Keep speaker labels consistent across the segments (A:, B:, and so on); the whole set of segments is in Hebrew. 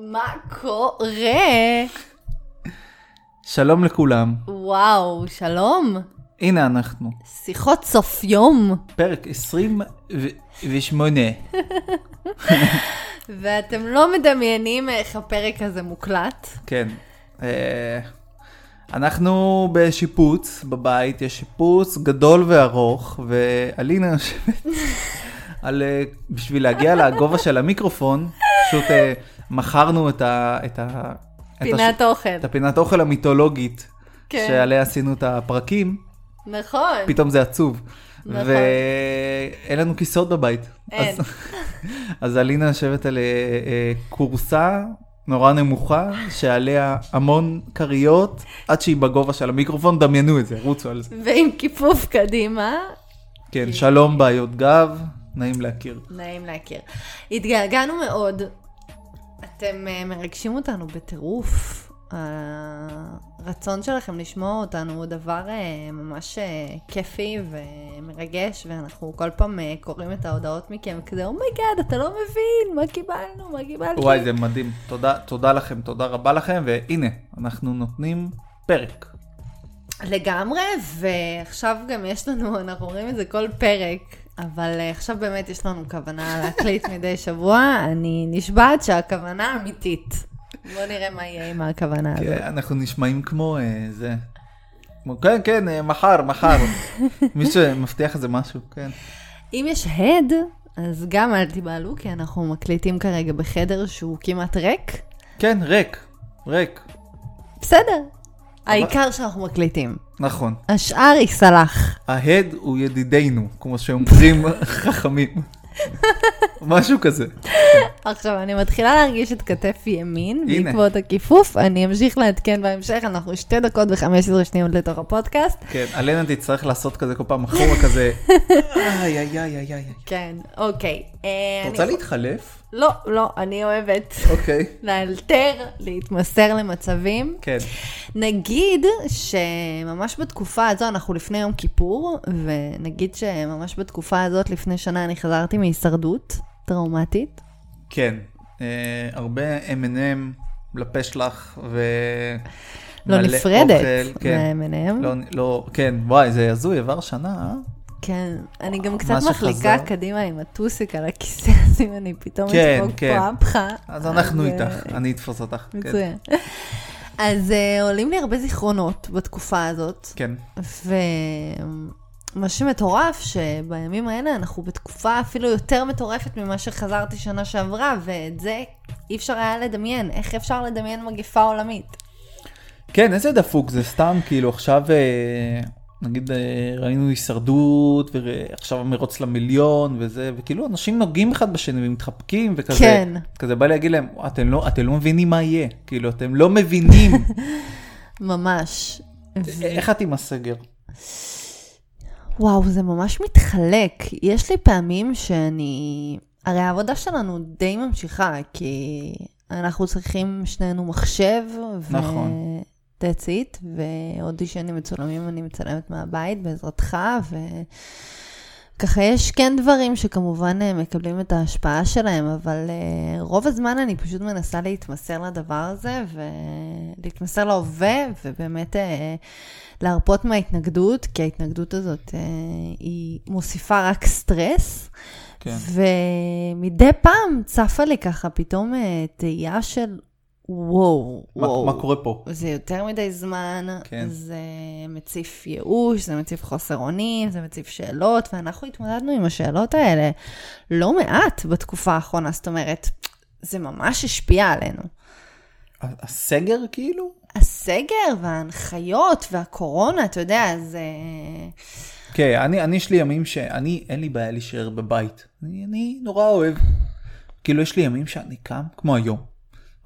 A: מה קורה?
B: שלום לכולם,
A: וואו, שלום.
B: הנה אנחנו,
A: שיחות סוף יום.
B: פרק 28.
A: ואתם לא מדמיינים איך הפרק הזה מוקלט.
B: כן, אה, אנחנו בשיפוץ בבית, יש שיפוץ גדול וארוך, ואלינה יושבת על, אה, בשביל להגיע לגובה של המיקרופון, פשוט אה, מכרנו את ה... את ה את
A: פינת
B: הש- את
A: אוכל.
B: הפינת אוכל המיתולוגית,
A: כן.
B: שעליה עשינו את הפרקים.
A: נכון.
B: פתאום זה עצוב.
A: נכון.
B: ואין לנו כיסאות בבית.
A: אין.
B: אז- אז אלינה יושבת על אה, אה, כורסה נורא נמוכה, שעליה המון כריות, עד שהיא בגובה של המיקרופון, דמיינו את זה, רוצו על זה.
A: ועם כיפוף קדימה,
B: כן, שלום בעיות גב, נעים להכיר.
A: נעים להכיר. התגעגענו מאוד. אתם אה, מרגשים אותנו בטירוף. הרצון שלכם לשמוע אותנו הוא דבר אה, ממש אה, כיפי ומרגש, ואנחנו כל פעם אה, קוראים את ההודעות מכם כזה, אומייגאד, אתה לא מבין, מה קיבלנו, מה קיבלתי.
B: וואי, זה מדהים. תודה, תודה לכם, תודה רבה לכם, והנה, אנחנו נותנים פרק.
A: לגמרי, ועכשיו גם יש לנו, אנחנו אומרים את זה כל פרק, אבל אה, עכשיו באמת יש לנו כוונה להקליט מדי שבוע, אני נשבעת שהכוונה אמיתית. בוא נראה מה יהיה עם הכוונה
B: כן,
A: הזאת.
B: אנחנו נשמעים כמו אה, זה. כמו, כן, כן, אה, מחר, מחר. מי שמבטיח איזה משהו, כן.
A: אם יש הד, אז גם אל תיבהלו, כי אנחנו מקליטים כרגע בחדר שהוא כמעט ריק.
B: כן, ריק, ריק,
A: בסדר, העיקר שאנחנו מקליטים.
B: נכון.
A: השאר ייסלח.
B: ההד הוא ידידנו, כמו שאומרים חכמים. משהו כזה.
A: עכשיו, אני מתחילה להרגיש את כתף ימין
B: הנה.
A: בעקבות הכיפוף, אני אמשיך לעדכן בהמשך, אנחנו שתי דקות ו-15 שניות לתוך הפודקאסט.
B: כן, אלנה תצטרך לעשות כזה כל פעם אחורה כזה. איי, איי, איי, איי, איי.
A: כן, אוקיי. אה,
B: את
A: אני-
B: רוצה להתחלף?
A: לא, לא, אני אוהבת
B: אוקיי.
A: לאלתר, להתמסר למצבים.
B: כן.
A: נגיד שממש בתקופה הזו, אנחנו לפני יום כיפור, ונגיד שממש בתקופה הזאת, לפני שנה, אני חזרתי מהישרדות טראומטית.
B: כן. אה, הרבה M&M לפה שלך ו...
A: לא
B: מלא
A: נפרדת M&M?
B: אוכל, כן.
A: מהם.
B: לא, לא, כן, וואי, זה הזוי, עבר שנה, אה?
A: כן, אני גם קצת
B: מה
A: מחליקה
B: שחזר.
A: קדימה עם הטוסיק על הכיסא, אז אם אני פתאום
B: כן,
A: אצחוק
B: כן.
A: פה אפך.
B: אז אנחנו
A: אה,
B: איתך, אני אתפוס אותך. כן.
A: מצוין. אז אה, עולים לי הרבה זיכרונות בתקופה הזאת,
B: כן.
A: ומה שמטורף, שבימים האלה אנחנו בתקופה אפילו יותר מטורפת ממה שחזרתי שנה שעברה, ואת זה אי אפשר היה לדמיין. איך אפשר לדמיין מגפה עולמית?
B: כן, איזה דפוק זה סתם, כאילו עכשיו, אה, נגיד אה, ראינו הישרדות, ועכשיו המרוץ למיליון וזה, וכאילו אנשים נוגעים אחד בשני ומתחבקים וכזה,
A: כן.
B: כזה בא להגיד להם, אתם לא, אתם לא מבינים מה יהיה, כאילו אתם לא מבינים
A: ממש.
B: א- איך את עם הסגר.
A: וואו, זה ממש מתחלק. יש לי פעמים שאני... הרי העבודה שלנו די ממשיכה, כי אנחנו צריכים שנינו מחשב, ו...
B: נכון.
A: that's it, ואודישנים מצולמים אני מצלמת מהבית בעזרתך, ו... ככה יש כן דברים שכמובן אה, מקבלים את ההשפעה שלהם, אבל אה, רוב הזמן אני פשוט מנסה להתמסר לדבר הזה, ולהתמסר להווה, ובאמת אה, להרפות מההתנגדות, כי ההתנגדות הזאת אה, היא מוסיפה רק סטרס.
B: כן.
A: ומדי פעם צפה לי ככה פתאום אה, תהייה של וואו,
B: מה,
A: וואו.
B: מה קורה פה?
A: זה יותר מדי זמן,
B: כן.
A: זה מציף ייאוש, זה מציף חוסר אונים, זה מציף שאלות, ואנחנו התמודדנו עם השאלות האלה לא מעט בתקופה האחרונה, זאת אומרת, זה ממש השפיע עלינו.
B: ה- הסגר כאילו?
A: הסגר וההנחיות והקורונה, אתה יודע, זה...
B: כן, אני, אני יש לי ימים שאני, אין לי בעיה להישאר בבית. אני, אני נורא אוהב. כאילו, יש לי ימים שאני קם, כמו היום.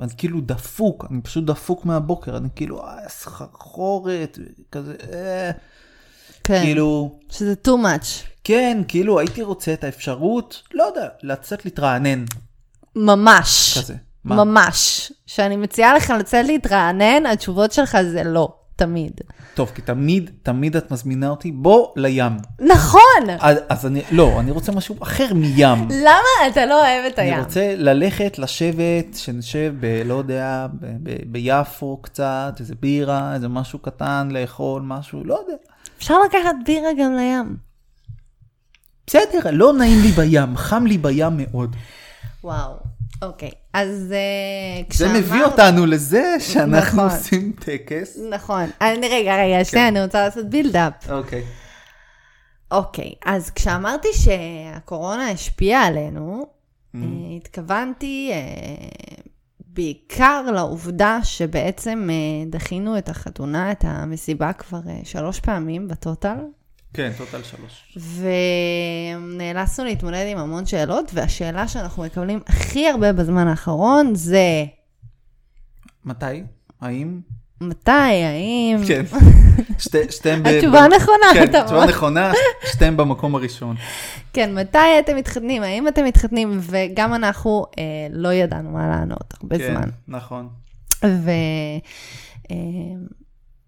B: אני כאילו דפוק, אני פשוט דפוק מהבוקר, אני כאילו, אה, סחרחורת, כזה, אה,
A: כן, כאילו...
B: כאילו,
A: שזה too much.
B: כן, כאילו, הייתי רוצה את האפשרות, לא יודע, לצאת להתרענן,
A: ממש.
B: כזה. מה?
A: ממש. שאני מציעה לך לצאת להתרענן, התשובות שלך זה לא. תמיד.
B: טוב, כי תמיד, תמיד את מזמינה אותי, בוא לים.
A: נכון!
B: אז, אז אני, לא, אני רוצה משהו אחר מים.
A: למה אתה לא אוהב את הים?
B: אני רוצה ללכת, לשבת, שנשב ב... לא יודע, ב, ב, ביפו קצת, איזה בירה, איזה משהו קטן, לאכול משהו, לא יודע.
A: אפשר לקחת בירה גם לים.
B: בסדר, לא נעים לי בים, חם לי בים מאוד.
A: וואו. אוקיי, אז אה,
B: זה
A: כשאמרת...
B: מביא אותנו לזה שאנחנו
A: נכון.
B: עושים טקס.
A: נכון. אני, רגע,
B: כן.
A: רגע, שנייה, אני רוצה לעשות בילדאפ.
B: אוקיי.
A: אוקיי, אז כשאמרתי שהקורונה השפיעה עלינו,
B: Mm.
A: אה, התכוונתי אה, בעיקר לעובדה שבעצם אה, דחינו את החתונה, את המסיבה כבר אה, שלוש פעמים בטוטל,
B: כן, טוטל שלוש.
A: ונאלצנו להתמודד עם המון שאלות, והשאלה שאנחנו מקבלים הכי הרבה בזמן האחרון זה
B: מתי? האם?
A: מתי, האם...
B: כן. שתי- שתיהן ב...
A: התשובה
B: ב-
A: הנכונה,
B: כן,
A: אתה
B: התשובה
A: אומר.
B: נכונה, שתיהן במקום הראשון.
A: כן, מתי אתם מתחתנים? האם אתם מתחתנים? וגם אנחנו אה, לא ידענו מה לענות הרבה
B: כן,
A: זמן.
B: נכון.
A: ו... אה,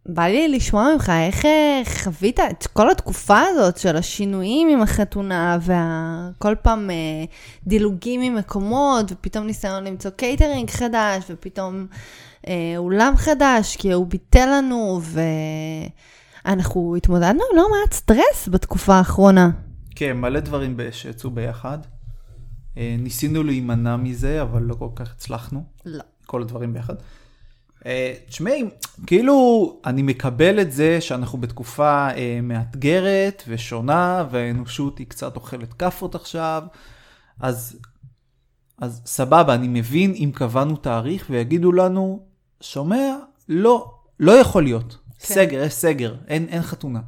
A: בא לי לשמוע ממך איך אה, חווית את כל התקופה הזאת של השינויים עם החתונה והכל פעם אה, דילוגים ממקומות ופתאום ניסיון למצוא קייטרינג חדש ופתאום אה, אולם חדש כי הוא ביטל לנו ואנחנו התמודדנו עם לא מעט סטרס בתקופה האחרונה.
B: כן, מלא דברים ב- שיצאו ביחד. אה, ניסינו להימנע מזה, אבל לא כל כך הצלחנו.
A: לא.
B: כל הדברים ביחד. אה, תשמעי, כאילו, אני מקבל את זה שאנחנו בתקופה אה, מאתגרת ושונה, והאנושות היא קצת אוכלת כאפות עכשיו, אז, אז סבבה, אני מבין אם קבענו תאריך ויגידו לנו, שומע, לא, לא יכול להיות.
A: כן.
B: כן. סגר, יש סגר, אין, אין חתונה,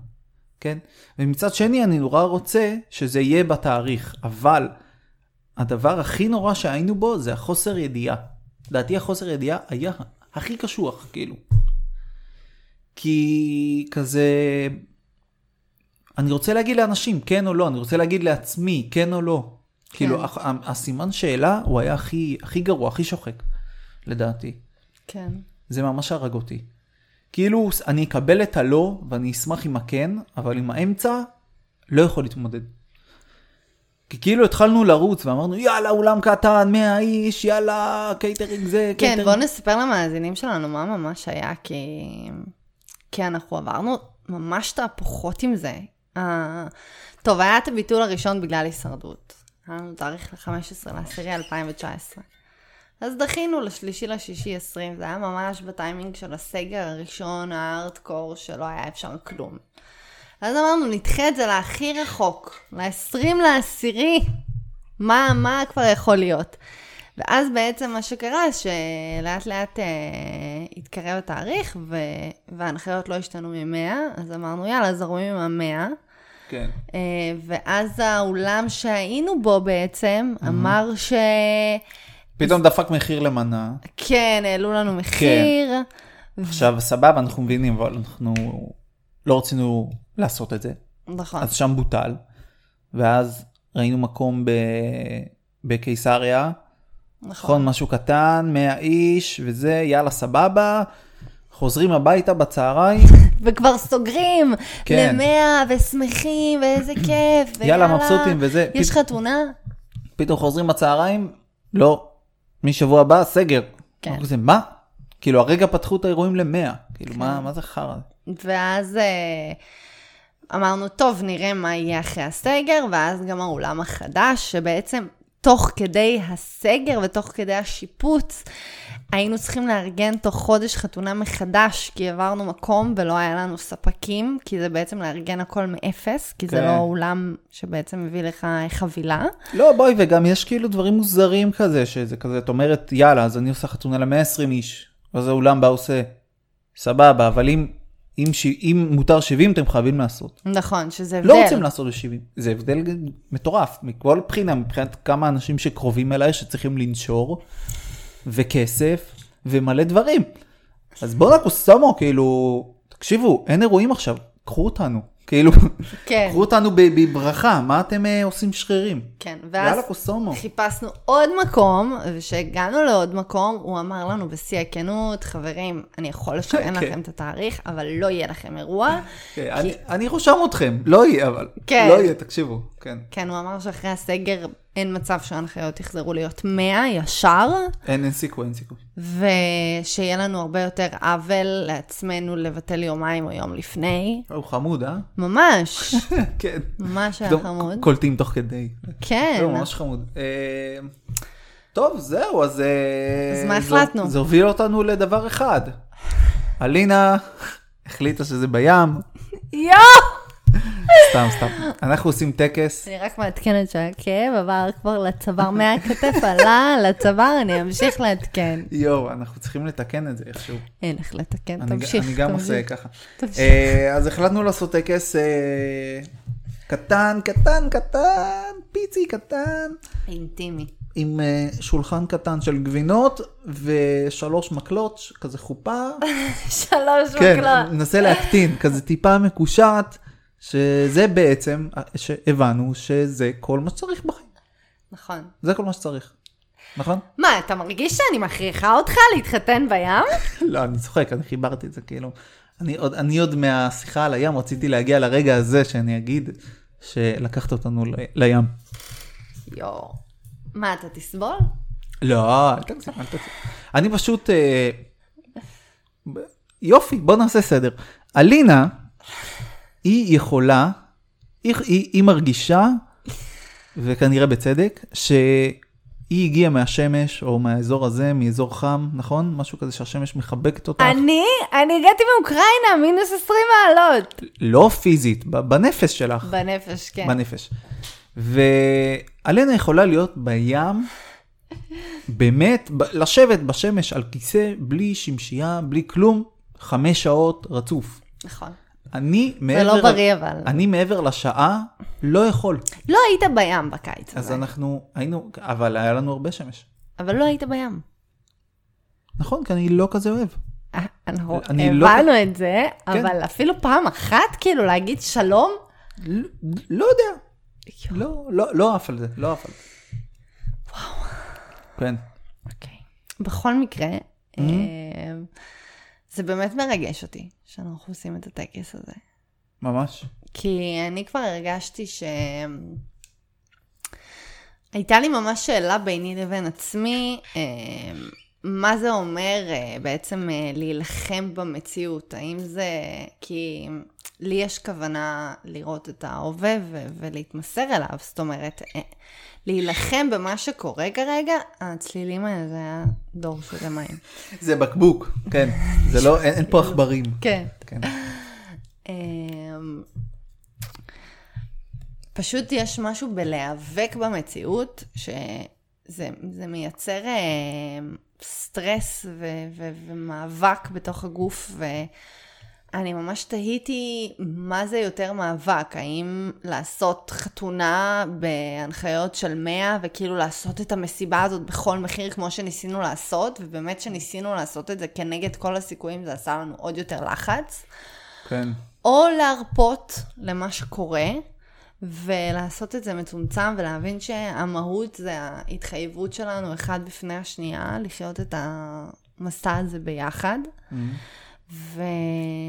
B: כן? ומצד שני, אני נורא רוצה שזה יהיה בתאריך, אבל הדבר הכי נורא שהיינו בו זה החוסר ידיעה. לדעתי החוסר ידיעה היה הכי קשוח, כאילו. כי כזה... אני רוצה להגיד לאנשים כן או לא, אני רוצה להגיד לעצמי כן או לא. כן. כאילו, הח- ה- הסימן שאלה הוא היה הכי, הכי גרוע, הכי שוחק, לדעתי.
A: כן.
B: זה ממש הרג אותי. כאילו, אני אקבל את הלא, ואני אשמח עם הכן, אבל עם האמצע, לא יכול להתמודד. כי כאילו התחלנו לרוץ, ואמרנו, יאללה, אולם קטן, 100 איש, יאללה, קייטרינג זה,
A: כן,
B: קייטרינג.
A: בואו נספר למאזינים שלנו מה ממש היה, כי... כי אנחנו עברנו ממש תהפוכות עם זה. Uh, טוב, היה את הביטול הראשון בגלל הישרדות. היה לנו תאריך ל-15 לעשירי 2019. אז דחינו לשלישי לשישי 20, זה היה ממש בטיימינג של הסגר הראשון, הארדקור, שלא היה אפשר כלום. אז אמרנו, נדחה את זה להכי רחוק, ל-20 לעשירי, מה, מה כבר יכול להיות? ואז בעצם מה שקרה, שלאט לאט אה, התקרב התאריך, ו... וההנחיות לא השתנו ממאה, אז אמרנו, יאללה, זרמים עם המאה.
B: כן.
A: אה, ואז האולם שהיינו בו בעצם,
B: Mhm.
A: אמר ש...
B: פתאום דפק מחיר למנה.
A: כן, העלו לנו מחיר.
B: עכשיו, סבבה, אנחנו מבינים, אבל אנחנו לא רצינו לעשות את זה.
A: נכון.
B: אז שם בוטל. ואז ראינו מקום ב... בקיסריה, נכון, משהו קטן, 100 איש, וזה, יאללה, סבבה. חוזרים הביתה בצהריים,
A: וכבר סוגרים
B: כן.
A: למאה, ושמחים, ואיזה כיף,
B: יאללה, מבסוטים וזה.
A: יש
B: פת-
A: חתונה?
B: פתאום חוזרים בצהריים, לא, משבוע הבא, סגר.
A: כן.
B: אנחנו כזה, מה? כאילו, הרגע פתחו את האירועים ל-100. כאילו, מה מה זה חרא?
A: ואז אה, אמרנו, טוב, נראה מה יהיה אחרי הסגר, ואז גם האולם החדש, שבעצם תוך כדי הסגר ותוך כדי השיפוץ, היינו צריכים לארגן תוך חודש חתונה מחדש, כי עברנו מקום ולא היה לנו ספקים, כי זה בעצם לארגן הכל מאפס, כי זה
B: כן.
A: לא אולם שבעצם מביא לך חבילה.
B: לא, בואי, וגם יש כאילו דברים מוזרים כזה, שזה כזה, את אומרת, יאללה, אז אני עושה חתונה ל-120 איש, אז האולם בא עושה, סבבה, אבל אם, אם, ש- אם מותר 70, אתם חייבים לעשות.
A: נכון, שזה הבדל.
B: לא רוצים לעשות ב-70, זה הבדל מטורף, מכל בחינה, מבחינת כמה אנשים שקרובים אליי שצריכים לנשור, וכסף, ומלא דברים. אז בואנה קוסומו, כאילו, תקשיבו, אין אירועים עכשיו, קחו אותנו. כאילו,
A: כן.
B: קחו אותנו ב- בברכה, מה אתם אה, עושים שרירים?
A: כן, ואז
B: יאללה קוסומו.
A: חיפשנו עוד מקום, וכשהגענו לעוד מקום, הוא אמר לנו בשיא הכנות, חברים, אני יכול לשריין
B: כן.
A: לכם את התאריך, אבל לא יהיה לכם אירוע.
B: כן, אני- אני רושם אתכם, לא יהיה אבל.
A: כן.
B: לא יהיה, תקשיבו. כן.
A: כן, הוא אמר שאחרי הסגר אין מצב שההנחיות יחזרו להיות 100 ישר,
B: אין אין סיכוי, אין סיכוי.
A: ושיהיה לנו הרבה יותר עוול לעצמנו לבטל יומיים או יום לפני.
B: הוא חמוד, אה?
A: ממש,
B: כן.
A: ממש היה
B: פתאום
A: חמוד.
B: קולטים תוך כדי.
A: כן.
B: לא, ממש חמוד. אה, טוב, זהו, אז... אה,
A: אז מה
B: זה-
A: החלטנו?
B: זה הוביל אותנו לדבר אחד. אלינה החליטה שזה בים,
A: יואו!
B: סתם, סתם. אנחנו עושים טקס.
A: אני רק מעדכנת שהכאב עבר כבר לצוואר, מהכתף עלה לצוואר, אני אמשיך לעדכן.
B: יואו, אנחנו צריכים לתקן את זה איכשהו.
A: אין איך לתקן,
B: אני-
A: תמשיך.
B: אני גם
A: תמשיך.
B: עושה ככה.
A: תמשיך.
B: אה, אז החלטנו לעשות טקס אה, קטן, קטן, קטן, פיצי קטן,
A: אינטימי.
B: עם אה, שולחן קטן של גבינות ושלוש מקלות, ש- כזה חופה.
A: שלוש
B: כן,
A: מקלות.
B: ננסה להקטין, כזה טיפה מקושט, שזה בעצם, אה, שהבנו שזה כל מה שצריך בחיים.
A: נכון.
B: זה כל מה שצריך. נכון?
A: מה, אתה מרגיש שאני מכריחה אותך להתחתן בים?
B: לא, אני צוחק, אני חיברתי את זה כאילו. אני עוד, אני עוד מהשיחה על הים רציתי להגיע לרגע הזה שאני אגיד שלקחת אותנו ל, לים.
A: יואו. מה, אתה תסבול?
B: לא, אל תגזים, אל תגזים. אני פשוט... אה, ב- יופי, בוא נעשה סדר. אלינה, היא יכולה, היא, היא, היא מרגישה, וכנראה בצדק, שהיא הגיעה מהשמש, או מהאזור הזה, מאזור חם, נכון? משהו כזה שהשמש מחבקת אותך.
A: אני? אני הגעתי מאוקראינה, מינוס 20 מעלות.
B: לא פיזית, ב- בנפש שלך.
A: בנפש, כן.
B: בנפש. ואלנה יכולה להיות בים, באמת, ב- לשבת בשמש על כיסא, בלי שמשייה, בלי כלום, חמש שעות רצוף.
A: נכון.
B: אני מעבר...
A: זה לא בריא, אבל.
B: אני מעבר לשעה לא יכול.
A: לא היית בים בקיץ
B: אז
A: הזה,
B: אנחנו היינו, אבל היה לנו הרבה שמש.
A: אבל לא היית בים.
B: נכון, כי אני לא כזה אוהב.
A: אה, אנחנו
B: אני לא-
A: הבנו את זה, אבל אפילו פעם אחת, כאילו, להגיד שלום?
B: ל- לא יודע. לא, לא, לא עף על זה, לא עף על זה. וואו. כן.
A: אוקיי. בכל מקרה, אה, זה באמת מרגש אותי שאנחנו עושים את הטקס הזה.
B: ממש.
A: כי אני כבר הרגשתי ש... הייתה לי ממש שאלה ביני לבין עצמי, אה, מה זה אומר אה, בעצם אה, להילחם במציאות? האם זה... כי לי יש כוונה לראות את ההווה ו- ולהתמסר אליו, זאת אומרת, אה, להילחם במה שקורה כרגע, הצלילים האלה זה היה דור של מים.
B: זה בקבוק, כן. זה לא, אין, אין פה עכברים.
A: כן.
B: כן.
A: אמ, פשוט יש משהו בלהיאבק במציאות, שזה זה מייצר אמ, סטרס ו, ו, ומאבק בתוך הגוף, ואני ממש תהיתי מה זה יותר מאבק, האם לעשות חתונה בהנחיות של 100, וכאילו לעשות את המסיבה הזאת בכל מחיר כמו שניסינו לעשות, ובאמת שניסינו לעשות את זה כנגד כל הסיכויים, זה עשה לנו עוד יותר לחץ.
B: כן.
A: או להרפות למה שקורה, ולעשות את זה מצומצם, ולהבין שהמהות זה ההתחייבות שלנו אחד בפני השנייה, לחיות את המסע הזה ביחד. ו...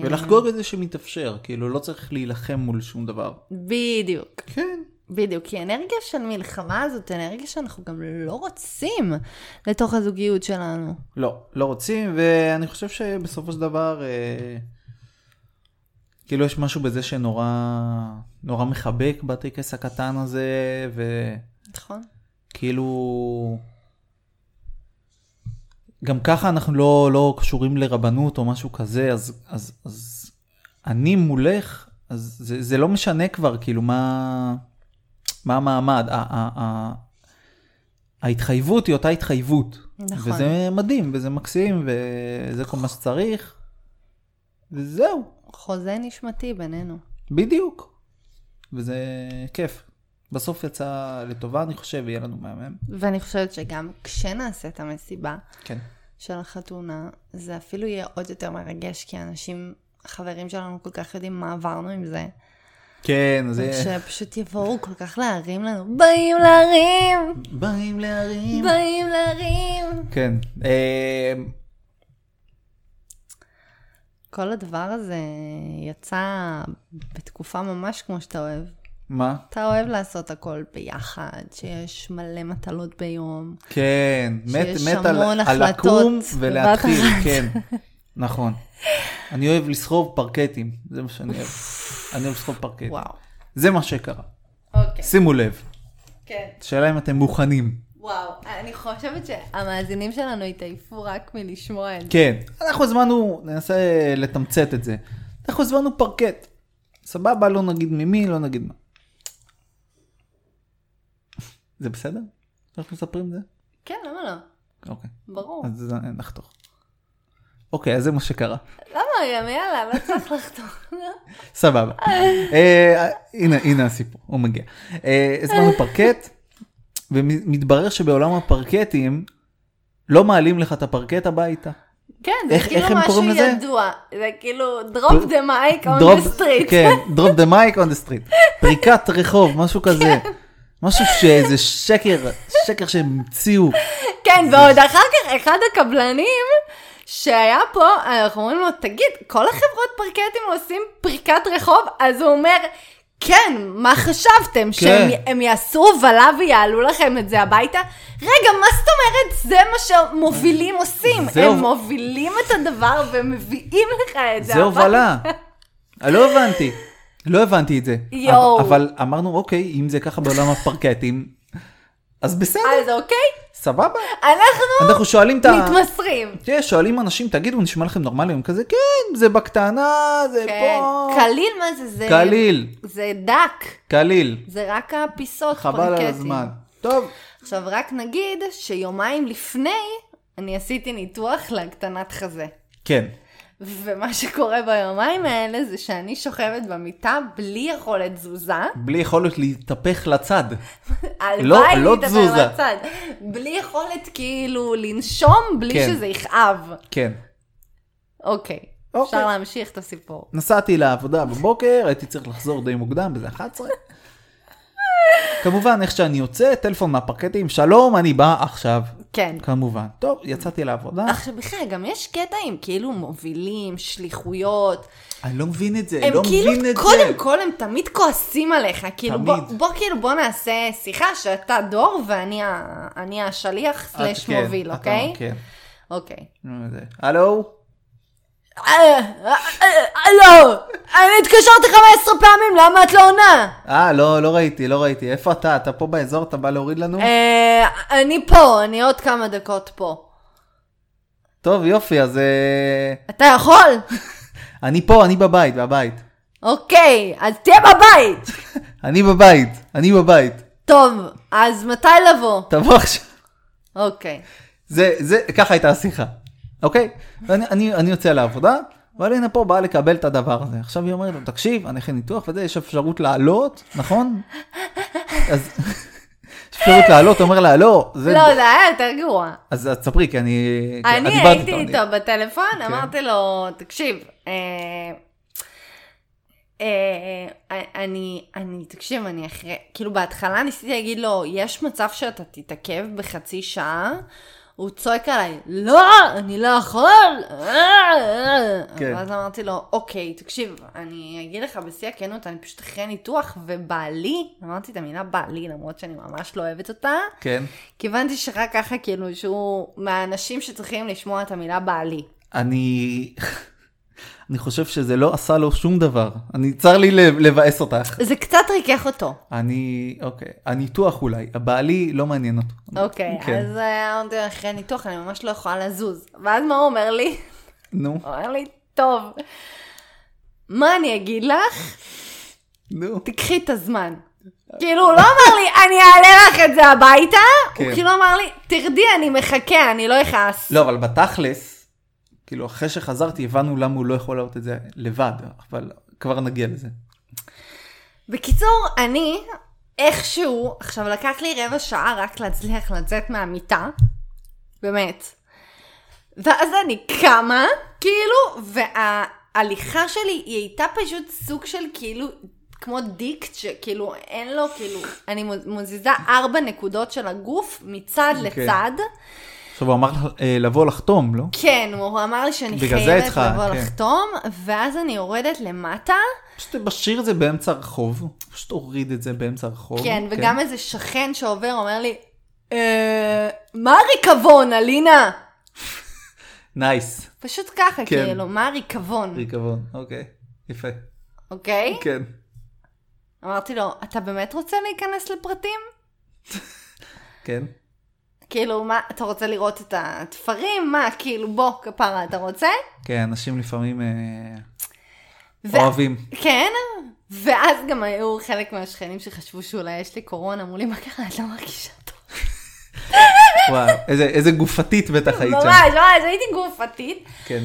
B: ולחגוג את זה שמתאפשר, כאילו לא צריך להילחם מול שום דבר.
A: בדיוק.
B: כן.
A: בדיוק, כי אנרגיה של מלחמה זאת אנרגיה שאנחנו גם לא רוצים לתוך הזוגיות שלנו.
B: לא, לא רוצים, ואני חושב שבסופו של דבר, אה, כאילו יש משהו בזה שנורא נורא מחבק בטקס הקטן הזה,
A: נכון?
B: וכאילו... כאילו, גם ככה אנחנו לא, לא קשורים לרבנות או משהו כזה, אז, אז, אז אני מולך, אז זה, זה לא משנה כבר, כאילו, מה, מה המעמד. ה, ה, ה, ההתחייבות היא אותה התחייבות.
A: נכון.
B: וזה מדהים, וזה מקסים, וזה כל מה שצריך, וזהו,
A: חוזה נשמתי בינינו.
B: בדיוק. וזה כיף. בסוף יצא לטובה, אני חושב, יהיה לנו מהמם.
A: ואני חושבת שגם כשנעשה את המסיבה,
B: כן.
A: של החתונה, זה אפילו יהיה עוד יותר מרגש, כי אנשים, החברים שלנו כל כך יודעים מה עברנו עם זה,
B: כן, זה...
A: שפשוט יבואו כל כך להרים לנו, באים להרים,
B: באים להרים.
A: באים להרים.
B: אה, כן. אמ,
A: כל הדבר הזה יצא בתקופה ממש כמו שאתה אוהב.
B: מה?
A: אתה אוהב לעשות הכל ביחד, שיש מלא מטלות ביום.
B: כן, מת,
A: שיש
B: מת על,
A: המון
B: על
A: החלטות
B: לקום
A: בבת
B: ולהתחיל,
A: אחת.
B: כן, נכון. אני אוהב לסחוב פרקטים, זה מה שאני אוהב. אני אוהב לסחוב פרקטים.
A: וואו.
B: זה מה שקרה.
A: אוקיי,
B: שימו לב,
A: כן.
B: השאלה אם אתם מוכנים.
A: וואו, אני חושבת שהמאזינים שלנו התעייפו רק מלשמוע את זה.
B: כן, אנחנו הזמנו, ננסה לתמצת את זה. אנחנו הזמנו פרקט. סבבה, לא נגיד ממי, לא נגיד מה. זה בסדר? אנחנו מספרים את זה?
A: כן, למה לא?
B: אוקיי,
A: ברור.
B: אז אה, נחתוך. אוקיי, אז זה מה שקרה.
A: למה גם, יאללה, לא צריך לחתוך.
B: סבבה. אה, הנה, הנה הסיפור, הוא מגיע. אה, הזמנו פרקט, ומתברר שבעולם הפרקטים לא מעלים לך את הפרקט הביתה.
A: כן, זה
B: איך-
A: כאילו
B: איך הם
A: משהו
B: קוראים לזה?
A: ידוע. זה כאילו, drop the mic on
B: Drop-
A: the street.
B: כן, drop the mic on the street. פריקת רחוב, משהו כזה.
A: כן.
B: משהו שזה שקר, שקר שהם המציאו.
A: כן, ועוד אחר כך אחד הקבלנים שהיה פה, אנחנו אומרים לו, תגיד, כל החברות פרקטים עושים פריקת רחוב? אז הוא אומר, כן, מה
B: כן."
A: חשבתם? שהם הם יעשו הובלה ויעלו לכם את זה הביתה? רגע, מה זאת אומרת? זה מה שמובילים עושים.
B: זה
A: הם
B: הוב-
A: מובילים את הדבר ומביאים לך את זה
B: זה הובלה. אני לא הבנתי. לא הבנתי את זה.
A: יואו.
B: אבל אמרנו, אוקיי, אם זה ככה בעולם הפרקטים, אז בסדר,
A: אז אוקיי,
B: סבבה.
A: אנחנו
B: אנחנו שואלים את ה...
A: מתמסרים.
B: תראה, שואלים אנשים, תגידו, נשמע לכם נורמלי? הם כזה, כן, זה בקטנה, זה
A: כן,
B: פה.
A: קליל מה זה? זה...
B: קליל,
A: זה דק.
B: קליל.
A: זה רק הפיסות,
B: חבל על
A: פרקטים.
B: הזמן. טוב,
A: עכשיו, רק נגיד שיומיים לפני, אני עשיתי ניתוח להקטנת חזה.
B: כן.
A: ומה שקורה ביומיים האלה זה שאני שוכבת במיטה בלי יכולת תזוזה.
B: בלי יכולת להתהפך לצד. לא-
A: הלוואי
B: לא
A: להתאפר
B: תזוזה.
A: בצד. בלי יכולת כאילו לנשום בלי
B: כן.
A: שזה יכאב.
B: כן.
A: אוקיי.
B: אוקיי.
A: אפשר להמשיך את הסיפור.
B: נסעתי לעבודה בבוקר, הייתי צריך לחזור די מוקדם, בזה 11. כמובן, איך שאני יוצא, טלפון מהפרקטים, שלום, אני בא עכשיו.
A: כן.
B: כמובן. טוב, יצאתי לעבודה.
A: עכשיו בכלל, גם יש קטע עם כאילו מובילים, שליחויות,
B: אני לא מבין את זה,
A: הם
B: לא
A: כאילו,
B: מבין את
A: קודם
B: זה.
A: כל הם תמיד כועסים עליך, כאילו
B: תמיד.
A: בוא, בוא כאילו בוא נעשה שיחה שאתה דור ואני ה- אני השליח
B: את-
A: סלש
B: כן,
A: מוביל,
B: אתה-
A: אוקיי?
B: כן.
A: אוקיי.
B: זה. הלו?
A: אה, אה, אה, הלו, אני התקשרתי 15 פעמים, למה את לא עונה?
B: אה, לא, לא ראיתי, לא ראיתי. איפה אתה? אתה פה באזור? אתה בא להוריד לנו?
A: אה, אני פה, אני עוד כמה דקות פה.
B: טוב, יופי, אז אה,
A: אתה יכול?
B: אני פה, אני בבית, בבית.
A: אוקיי, אז תהיה בבית.
B: אני בבית, אני בבית.
A: טוב, אז מתי לבוא?
B: תבוא עכשיו.
A: אוקיי.
B: זה, זה, ככה הייתה השיחה, אוקיי? ואני אני, אני יוצא לעבודה, אבל הנה פה באה לקבל את הדבר הזה. עכשיו היא אומרת לו, תקשיב, אני אחרי ניתוח וזה, יש אפשרות לעלות, נכון? אז יש אפשרות לעלות, אומר לה, לא, זה...
A: לא, זה היה יותר גרוע.
B: אז אז ספרי, כי אני... כי את
A: אני
B: דיברת
A: הייתי
B: אני-
A: איתו בטלפון, אמרתי לו, תקשיב, אה, אה, אה, אני, אני, תקשיב, אני אחרי, כאילו בהתחלה ניסיתי להגיד לו, יש מצב שאתה תתעכב בחצי שעה? הוא צועק עליי, לא, אני לא יכול!
B: כן.
A: כן. ואז אמרתי לו, אוקיי, תקשיב, אני אגיד לך בשיא הכנות, אני פשוט אחרי ניתוח, ובעלי, אמרתי את המילה בעלי, למרות שאני ממש לא אוהבת אותה,
B: כן.
A: כיוונתי שרק ככה, כאילו, שהוא מהאנשים שצריכים לשמוע את המילה בעלי.
B: אני... אני חושב שזה לא עשה לו שום דבר. אני, צר לי לב- לבאס אותך.
A: זה קצת ריכך אותו.
B: אני, אוקיי, הניתוח אולי, הבעלי לא מעניין אותו.
A: אוקיי,
B: כן.
A: אז אה, אמרתי לו, אחרי ניתוח, אני ממש לא יכולה לזוז. ואז מה הוא אומר לי?
B: נו,
A: הוא אומר לי, טוב, מה אני אגיד לך?
B: נו.
A: תקחי את הזמן. כאילו, הוא לא אמר לי, אני אעלה לך את זה הביתה, הוא
B: כן.
A: כאילו אמר לי, תרדי, אני מחכה, אני לא אכעס.
B: לא, אבל בתכלס, כאילו, אחרי שחזרתי הבנו למה הוא לא יכול לעלות את זה לבד, אבל כבר נגיע לזה.
A: בקיצור, אני איכשהו, עכשיו לקח לי רבע שעה רק להצליח לצאת מהמיטה, באמת. ואז אני קמה, כאילו, וההליכה שלי היא הייתה פשוט סוג של כאילו כמו דיקט, שכאילו אין לו, כאילו, אני מוז- מזיזה ארבע נקודות של הגוף מצד
B: אוקיי.
A: לצד.
B: עכשיו הוא אמר לך אה, לבוא לחתום, לא?
A: כן, הוא אמר לי שאני
B: בגלל זה
A: חייבת
B: איתך,
A: לבוא
B: כן.
A: לחתום, ואז אני יורדת למטה,
B: פשוט משאיר את זה באמצע הרחוב, פשוט הוריד את זה באמצע הרחוב.
A: כן, וגם איזה שכן שעובר אומר לי, "אה, מה הריקבון, אלינה?
B: נייס,
A: פשוט ככה,
B: כן.
A: כאילו, מה הריקבון,
B: ריקבון, אוקיי, יפה.
A: אוקיי?
B: כן.
A: אמרתי לו, אתה באמת רוצה להיכנס לפרטים?
B: כן.
A: כאילו, מה, אתה רוצה לראות את התפרים? מה, כאילו, בוא, כפרה, אתה רוצה?
B: כן, אנשים לפעמים אה,
A: ו-
B: אוהבים.
A: כן, ואז גם היו חלק מהשכנים שחשבו שאולי יש לי קורונה, אמרו לי, מה קרה, את לא מרגישה טוב.
B: וואו, איזה- איזה גופתית בטח היית שם.
A: ממש, ממש, הייתי גופתית.
B: כן.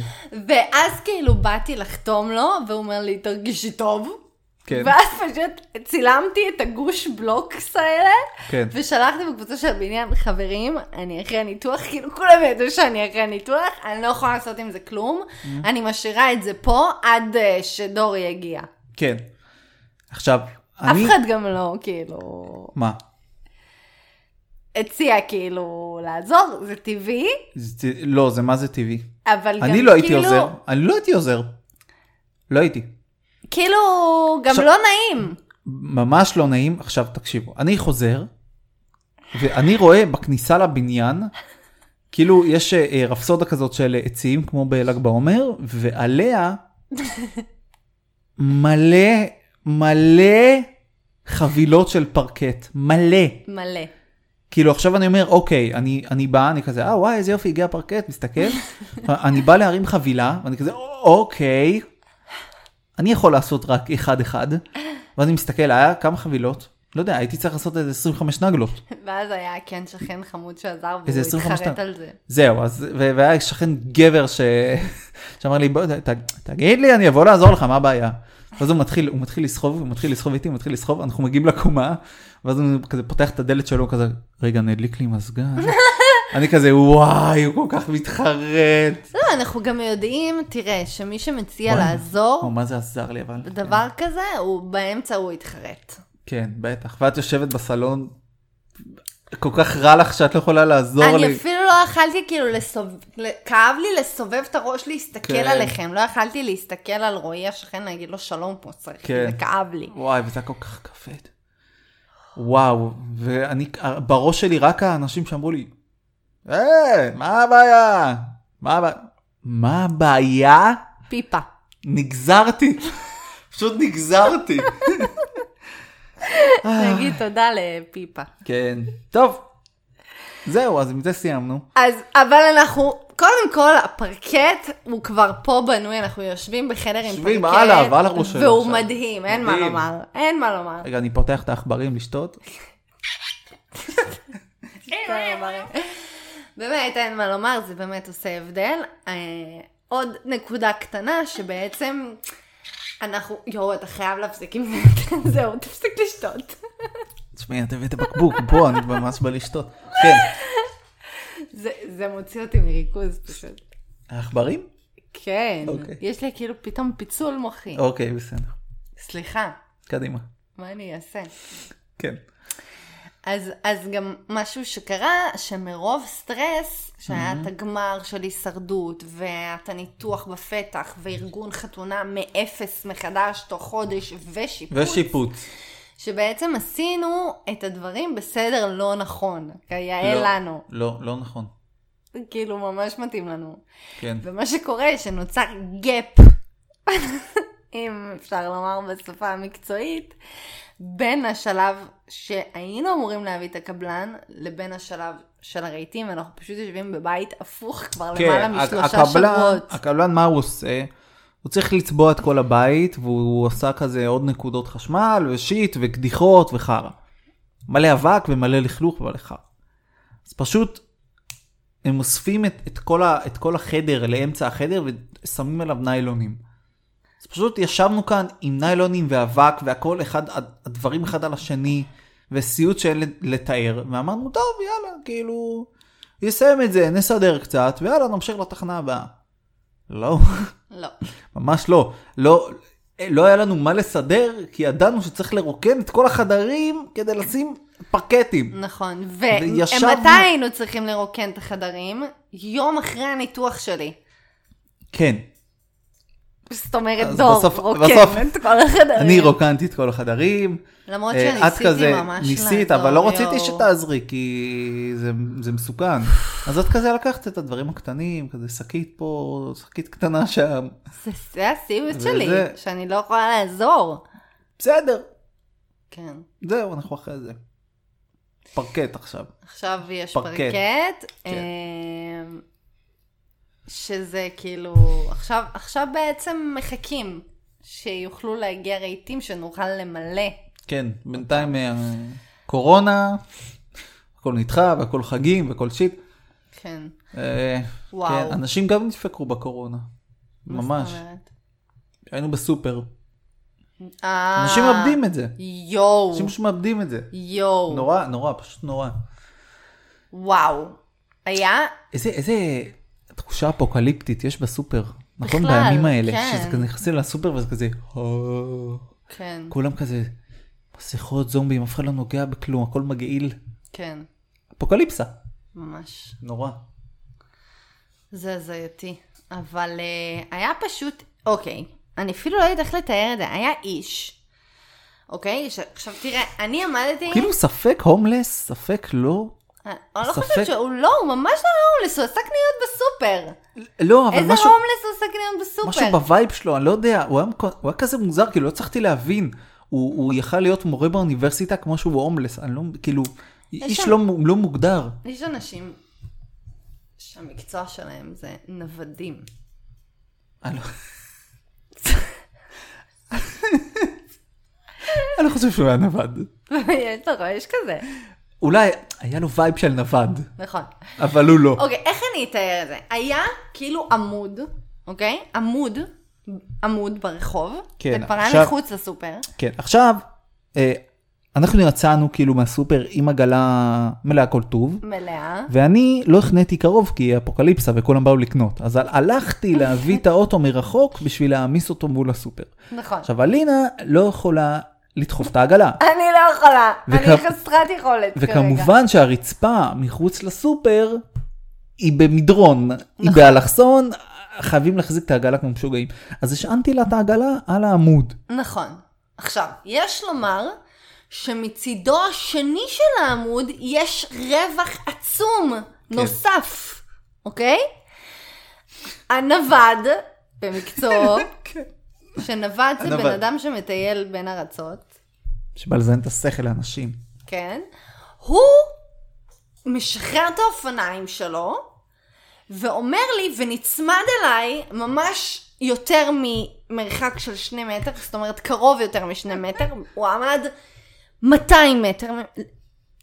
A: ואז כאילו באתי לחתום לו, והוא אומר לי, תרגישי טוב.
B: כן.
A: ואז פשוט צילמתי את הגוש בלוקס האלה,
B: כן.
A: ושלחתי בקבוצה של הבניין, חברים, אני אחרי הניתוח, כאילו כולם ידעו שאני אחרי הניתוח, אני לא יכולה לעשות עם זה כלום,
B: Mm.
A: אני משאירה את זה פה עד אה, שדורי יגיע.
B: כן. עכשיו,
A: אף
B: אני...
A: אחד גם לא, כאילו,
B: מה?
A: הציע כאילו לעזור, זה טבעי,
B: זה ט- לא, זה מה זה טבעי.
A: אבל גם כאילו...
B: אני לא הייתי עוזר. אני לא הייתי עוזר. לא הייתי.
A: כאילו, גם
B: עכשיו-
A: לא נעים.
B: ממש לא נעים. עכשיו תקשיבו, אני חוזר, ואני רואה בכניסה לבניין, כאילו יש אה, רפסודה כזאת של אה, עצים, כמו בל"ג בעומר, ועליה מלא מלא חבילות של פרקט, מלא.
A: מלא.
B: כאילו עכשיו אני אומר, אוקיי, אני, אני בא, אני כזה, אה וואי, איזה יופי, הגיע הפרקט, מסתכל, אני בא להרים חבילה, ואני כזה, אוקיי, אני יכול לעשות רק אחד-אחד, ואז אני מסתכל, היה כמה חבילות, לא יודע, הייתי צריך לעשות איזה 25 נגלות,
A: ואז היה כן שכן חמוד שעזר,
B: איזה
A: והוא
B: 25
A: התחרט
B: שנה.
A: על זה.
B: זהו, אז, ו- והיה שכן גבר ש... שאמר לי, בוא, ת, תגיד לי, אני אבוא לעזור לך, מה הבעיה? ואז הוא מתחיל, הוא מתחיל לסחוב, הוא מתחיל לסחוב איתי, הוא מתחיל לסחוב, אנחנו מגיעים לקומה, ואז הוא כזה פותח את הדלת שלו, כזה, רגע, נדליק לי מזגן. אני כזה, וואי, הוא כל כך מתחרט.
A: לא, אנחנו גם יודעים, תראה, שמי שמציע
B: וואי. או,
A: לעזור
B: מה זה עזר לי, אבל...
A: בדבר כזה, הוא באמצע הוא יתחרט.
B: כן, בטח. ואת יושבת בסלון, כל כך רע לך שאת לא יכולה לעזור
A: אני
B: לי.
A: אפילו לא יכלתי כאילו לסובב, כאב לי לסובב את הראש להסתכל
B: כן.
A: עליכם, לא יכלתי להסתכל על רועי השכן להגיד לו שלום פה, צריך,
B: כן.
A: זה כאב לי.
B: וואי, וזה היה כל כך כבד. וואו, ואני, בראש שלי רק האנשים שאמרו לי, היי, מה הבעיה? מה הבעיה? מה הבעיה?
A: פיפה.
B: נגזרתי. פשוט נגזרתי. אה.
A: נגיד תודה לפיפה.
B: כן. טוב. זהו, אז עם זה סיימנו.
A: אז, אבל אנחנו, קודם כל, הפרקט הוא כבר פה בנוי, אנחנו יושבים בחדר עם פרקט.
B: יושבים, עליו, על הראש שלו
A: והוא
B: עכשיו.
A: מדהים, אין מה
B: מדהים.
A: לומר, אין מה לומר.
B: רגע, אני פותח את העכברים לשתות.
A: באמת, אין מה לומר, זה באמת עושה הבדל. אה, עוד נקודה קטנה, שבעצם אנחנו, יואו, אתה חייב להפסיק עם זה, זהו, תפסיק לשתות.
B: תשמעי, את הבאת בקבוק, בוא, אני ממש בא לשתות. כן.
A: זה, זה מוציא אותי מריכוז פשוט.
B: העכברים?
A: כן,
B: אוקיי.
A: יש לי כאילו פתאום פיצול מוחי.
B: אוקיי, בסדר.
A: סליחה,
B: קדימה.
A: מה אני אעשה?
B: כן.
A: אז, אז גם משהו שקרה, שמרוב סטרס, שהיה את הגמר של הישרדות, ואת הניתוח בפתח, וארגון חתונה מאפס מחדש, תוך חודש, ושיפוץ,
B: ושיפוץ.
A: שבעצם עשינו את הדברים בסדר לא נכון, כיאה
B: לא,
A: לנו.
B: לא, לא נכון.
A: זה כאילו ממש מתאים לנו.
B: כן.
A: ומה שקורה, שנוצר gap, אם אפשר לומר בשפה המקצועית, בין השלב שהיינו אמורים להביא את הקבלן, לבין השלב של הרהיטים, ואנחנו פשוט יושבים בבית הפוך כבר
B: כן,
A: למעלה
B: הק-
A: משלושה שבועות.
B: הקבלן, מה הוא עושה? הוא צריך לצבוע את כל הבית, והוא עשה כזה עוד נקודות חשמל, ושיט, וקדיחות, וחרא. מלא אבק ומלא לכלוך ומלא חרא. אז פשוט, הם אוספים את, את, כל ה, את כל החדר לאמצע החדר, ושמים עליו ניילונים. אז פשוט ישבנו כאן עם ניילונים ואבק, והכל אחד, הדברים אחד על השני, וסיוט שאין לתאר, ואמרנו, טוב, יאללה, כאילו... נסיים את זה, נסדר קצת, ויאללה, נמשיך לתחנה הבאה. לא,
A: לא.
B: ממש לא. לא, אה, לא היה לנו מה לסדר, כי ידענו שצריך לרוקן את כל החדרים כדי לשים פרקטים.
A: נכון.
B: וישבנו-
A: ומתי היינו צריכים לרוקן את החדרים? יום אחרי הניתוח שלי.
B: כן,
A: זאת אומרת,
B: אז
A: דור
B: בסוף- בסוף-
A: רוקן את כל החדרים.
B: אני רוקנתי את כל החדרים.
A: אה. למרות
B: אה,
A: שניסיתי ממש
B: את כזה
A: לעזור,
B: ניסית, אבל לא רציתי
A: יואו.
B: שתעזרי, כי זה- זה מסוכן. אז את כזה לקחת את הדברים הקטנים, כזה שקית פה, שקית קטנה שם.
A: זה- זה הסיוט שלי,
B: וזה-
A: שאני לא יכולה לעזור.
B: בסדר,
A: כן.
B: זהו, אנחנו אחרי זה. פרקט עכשיו.
A: עכשיו יש
B: פרקט.
A: פרקט.
B: כן.
A: אמ, שזה כאילו, עכשיו, עכשיו בעצם מחכים שיוכלו להגיע רהיטים שנוכל למלא.
B: כן, בינתיים אה, קורונה, הכל נדחה והכל חגים והכל שיט.
A: כן.
B: אה,
A: וואו.
B: כן, אנשים גם נדפקו בקורונה.
A: מה זאת
B: ממש.
A: אומרת?
B: היינו בסופר.
A: אה,
B: אנשים מאבדים את זה.
A: יואו,
B: אנשים פשוט מאבדים את זה.
A: יואו,
B: נורא, נורא, פשוט נורא.
A: וואו. היה?
B: איזה, איזה תחושה אפוקליפטית יש בסופר. נכון
A: בכלל,
B: בימים האלה,
A: כן.
B: שזה כזה נכנסים לסופר וזה כזה, "אה."
A: כן,
B: כולם כזה, מסכות זומבים, אף אחד לא נוגע בכלום, הכל מגעיל.
A: כן,
B: אפוקליפסה.
A: ממש.
B: נורא.
A: זה הזייתי. אבל אה, היה פשוט, אוקיי, אני אפילו לא יודעת איך לתאר את זה, היה איש. אוקיי? ש- עכשיו תראה, אני עמדתי...
B: כאילו ספק הומלס, ספק לא.
A: אני לא
B: ספק.
A: חושבת שהוא לא, הוא ממש לא היה הומלס, הוא עשה קניות בסופר.
B: לא, אבל
A: איזה
B: משהו,
A: הומלס הוא עשה קניות
B: משהו
A: בסופר?
B: בווייב שלו, אני לא יודע, הוא היה, מקו- הוא היה כזה מוזר, כאילו לא הצלחתי להבין. הוא, הוא יכל להיות מורה באוניברסיטה כמו שהוא הומלס, אני לא, כאילו, איש
A: שם-
B: לא, מ- לא מוגדר.
A: יש אנשים שהמקצוע שלהם זה נוודים.
B: אני לא... אני לא חושב שהוא היה נווד.
A: יש לך, יש כזה.
B: אולי היה לו וייב של נווד,
A: נכון.
B: אבל הוא לא.
A: אוקיי, איך אני אתאר את זה? היה כאילו עמוד, אוקיי? עמוד, עמוד ברחוב.
B: כן,
A: זה כבר היה
B: עכשיו-
A: מחוץ לסופר.
B: כן, עכשיו, אה, אנחנו יצאנו כאילו מהסופר עם עגלה מלאה כל טוב.
A: מלאה.
B: ואני לא החניתי קרוב כי אפוקליפסה וכולם באו לקנות. אז הלכתי להביא את האוטו מרחוק בשביל להעמיס אותו מול הסופר.
A: נכון.
B: עכשיו אלינה לא יכולה לדחוף את העגלה.
A: אני לא יכולה, אני
B: וכ-
A: חסרת יכולת כרגע.
B: וכמובן שהרצפה מחוץ לסופר היא במדרון, היא
A: נכון.
B: באלכסון, חייבים להחזיק את העגלה כמו משוגעים. אז השענתי לה את העגלה על העמוד.
A: נכון. עכשיו, יש לומר שמצידו השני של העמוד יש רווח עצום
B: כן.
A: נוסף, אוקיי? הנווד, במקצועו, שנווד זה
B: הנווד.
A: בן אדם שמטייל בין ארצות,
B: שבא לזיין את השכל לאנשים.
A: כן? הוא משחרר את האופניים שלו, ואומר לי, ונצמד אליי ממש יותר ממרחק של שני מטר, זאת אומרת קרוב יותר משני מטר, הוא עמד 200 מטר, מ-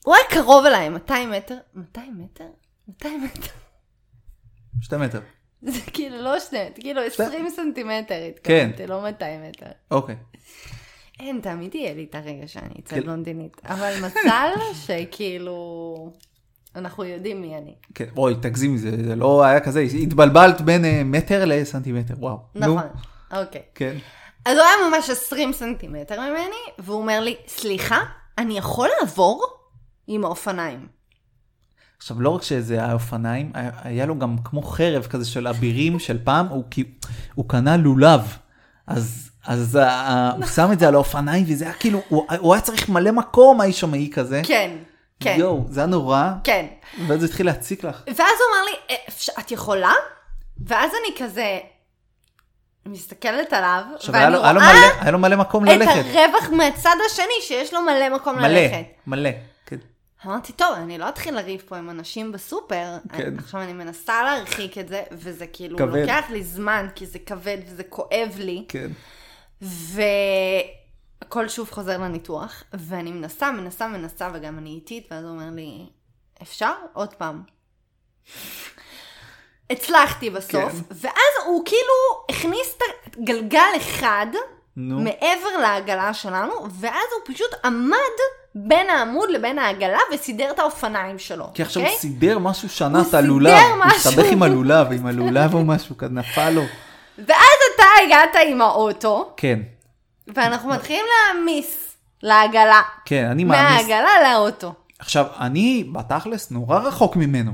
A: הוא היה קרוב אליי, 200 מטר, 200 מטר? 200 מטר,
B: שתי מטר.
A: זה כאילו לא שני מטר, כאילו 20 סנטימטר
B: כן.
A: התכוונתי, לא 200 מטר.
B: אוקיי.
A: אין, תמיד יהיה לי את הרגע שאני אצא
B: כן.
A: בלונדינית. אבל מזל שכאילו, אנחנו יודעים מי אני.
B: כן, אוי, תגזימי, זה זה לא היה כזה, התבלבלת בין אה, מטר לסנטימטר, וואו. נו,
A: נכון, אוקיי.
B: כן.
A: אז הוא היה ממש 20 סנטימטר ממני, והוא אומר לי, סליחה, אני יכול לעבור עם האופניים.
B: עכשיו, לא רק שזה היה אופניים, היה- היה לו גם כמו חרב כזה של אבירים של פעם, הוא, כי- הוא קנה לולב. אז, אז ה- ה- הוא שם את זה על האופניים, וזה היה כאילו, הוא, הוא היה צריך מלא מקום, האיש המעי כזה.
A: כן, כן,
B: יואו, זה היה נורא,
A: כן.
B: ואז זה התחיל להציק לך.
A: ואז הוא אמר לי, "אה, אפשר- את יכולה? ואז אני כזה מסתכלת עליו,
B: עכשיו, היה
A: ואני
B: לו, היה, לו
A: רואה
B: מלא, היה לו מלא מקום
A: את
B: ללכת.
A: הרווח מהצד השני, שיש לו מלא מקום
B: מלא,
A: ללכת.
B: מלא. כן.
A: אמרתי, טוב, אני לא אתחיל לריב פה עם אנשים בסופר.
B: כן.
A: כן. עכשיו אני מנסה להרחיק את זה, וזה כאילו
B: כבד.
A: כבד. לוקח לי זמן, כי זה כבד וזה כואב לי.
B: כן.
A: והכל שוב חוזר לניתוח, ואני מנסה, מנסה, מנסה, וגם אני איטית, ואז הוא אומר לי, אפשר? עוד פעם. הצלחתי בסוף,
B: כן.
A: כן. ואז הוא כאילו הכניס את הגלגל אחד
B: נו,
A: מעבר לעגלה שלנו, ואז הוא פשוט עמד בין העמוד לבין העגלה וסידר את האופניים שלו.
B: כי עכשיו הוא
A: אוקיי?
B: סידר משהו, שנה
A: הוא
B: את הלולב.
A: סידר
B: הוא הסתבך
A: משהו.
B: עם הלולב, עם הלולב או משהו, כזה נפל לו.
A: ואז אתה הגעת עם האוטו,
B: כן.
A: ואנחנו מתחילים להעמיס לעגלה.
B: כן, אני מעמיס.
A: מהעגלה לאוטו.
B: עכשיו, אני בתכלס נורא רחוק ממנו.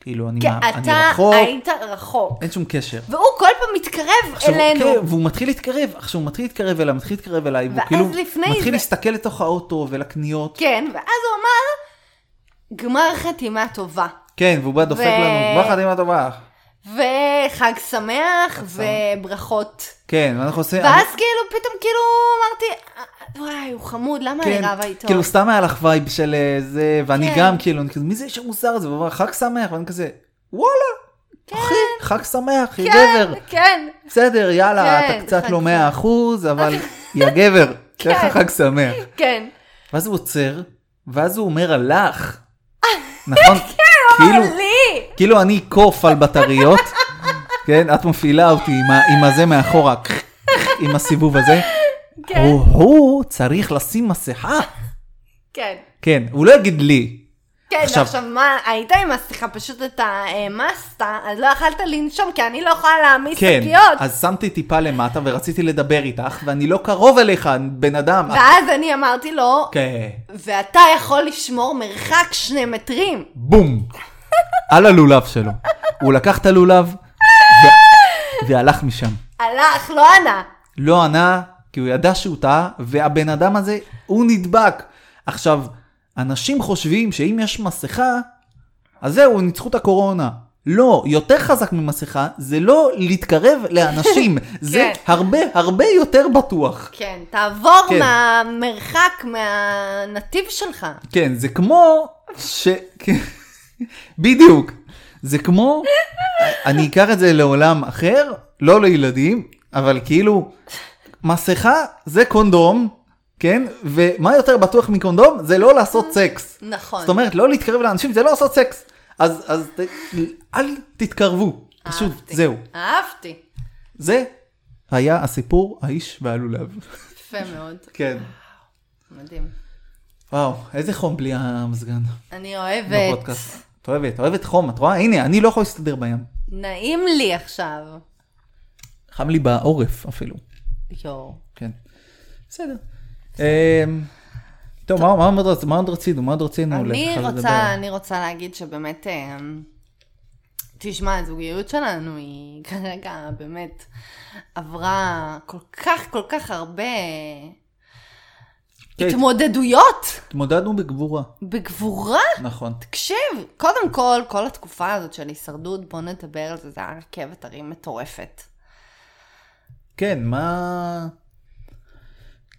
B: כאילו, אני
A: כי
B: מה- אני
A: אתה
B: רחוק,
A: היית רחוק.
B: אין שום קשר.
A: והוא כל פעם מתקרב
B: עכשיו, כן,
A: אלינו.
B: והוא מתחיל להתקרב, עכשיו הוא מתחיל להתקרב אליי, מתחיל להתקרב אליי, והוא
A: ואז
B: כאילו
A: לפני
B: מתחיל
A: זה-
B: להסתכל לתוך האוטו ולקניות.
A: כן, ואז הוא אמר, גמר חתימה טובה.
B: כן, והוא בא דופק
A: ו-
B: לנו, ברכה דמעה טובה.
A: וחג שמח,
B: שמח.
A: וברכות.
B: כן, ואנחנו עושים...
A: ואז כאילו, פתאום כאילו אמרתי, "אה, וואי, הוא חמוד, למה אני
B: כן,
A: רבה איתו?
B: כאילו סתם היה לך וייב של אה, זה, ואני
A: כן.
B: גם כאילו, אני כזה, מי זה איש המוסר הזה? והוא אמר, חג שמח, ואני כזה, וואלה, אחי, חג שמח, יא גבר.
A: כן,
B: בסדר, יאללה,
A: כן,
B: אתה קצת
A: חג
B: לא
A: שמח.
B: 100 אחוז, אבל יא גבר, שיהיה לך
A: כן.
B: חג שמח.
A: כן.
B: ואז הוא עוצר, ואז הוא אומר, הלך. נכון?
A: כן,
B: כאילו,
A: לי!
B: כאילו אני קוף על בטריות, כן? את מפעילה אותי עם ה- עם הזה מאחורה, עם הסיבוב הזה.
A: כן.
B: הוא- הוא צריך לשים מסכה.
A: כן.
B: כן, הוא לא יגיד לי.
A: כן,
B: עכשיו-
A: עכשיו, עכשיו מה, היית עם מסכה, פשוט אתה העמסת, אז לא יכלת לנשום, כי אני לא יכולה להעמיס
B: כן,
A: שקיות.
B: אז שמתי טיפה למטה ורציתי לדבר איתך, ואני לא קרוב אליך, בן אדם.
A: ואז אני אמרתי לו,
B: כן.
A: ואתה יכול לשמור מרחק שני מטרים.
B: בום! על הלולב שלו. הוא לקח את הלולב ו- והלך משם.
A: הלך, לא ענה.
B: לא ענה, כי הוא ידע שהוא טעה, והבן אדם הזה, הוא נדבק. עכשיו, אנשים חושבים שאם יש מסכה, אז זהו, ניצחו את הקורונה. לא, יותר חזק ממסכה, זה לא להתקרב לאנשים, זה הרבה הרבה יותר בטוח.
A: כן, תעבור
B: כן.
A: מהמרחק, מהנתיב שלך.
B: כן, זה כמו ש... כן, בדיוק. זה כמו, אני אקח את זה לעולם אחר, לא לילדים, אבל כאילו, מסכה זה קונדום, כן? ומה יותר בטוח מקונדום? זה לא לעשות סקס.
A: נכון.
B: זאת אומרת, לא להתקרב לאנשים זה לא לעשות סקס. אז, אז ת, אל תתקרבו, פשוט,
A: אהבתי.
B: זהו.
A: אהבתי.
B: זה היה הסיפור, האיש והלולב.
A: יפה מאוד.
B: כן.
A: מדהים.
B: וואו, איזה חום בלי המזגן. לא
A: אני אוהבת.
B: בפודקאסט. את אוהבת, אוהבת חום, את רואה? הנה, אני לא יכול להסתדר בים.
A: נעים לי עכשיו.
B: חם לי בעורף אפילו,
A: יואו.
B: כן. בסדר. אמ, טוב, מה- מה עוד רצ- מה עוד רצינו? מה עוד רצינו?
A: אני
B: לך
A: רוצה,
B: לדבר?
A: אני רוצה להגיד שבאמת, אה, תשמע, הזוגיות שלנו היא כרגע באמת עברה כל כך, כל כך הרבה
B: כן.
A: התמודדויות
B: התמודדנו בגבורה,
A: בגבורה.
B: נכון.
A: תקשיב, קודם כל, כל התקופה הזאת של הישרדות, בוא נדבר על זה, זה היה רכבת הרים מטורפת.
B: כן, מה...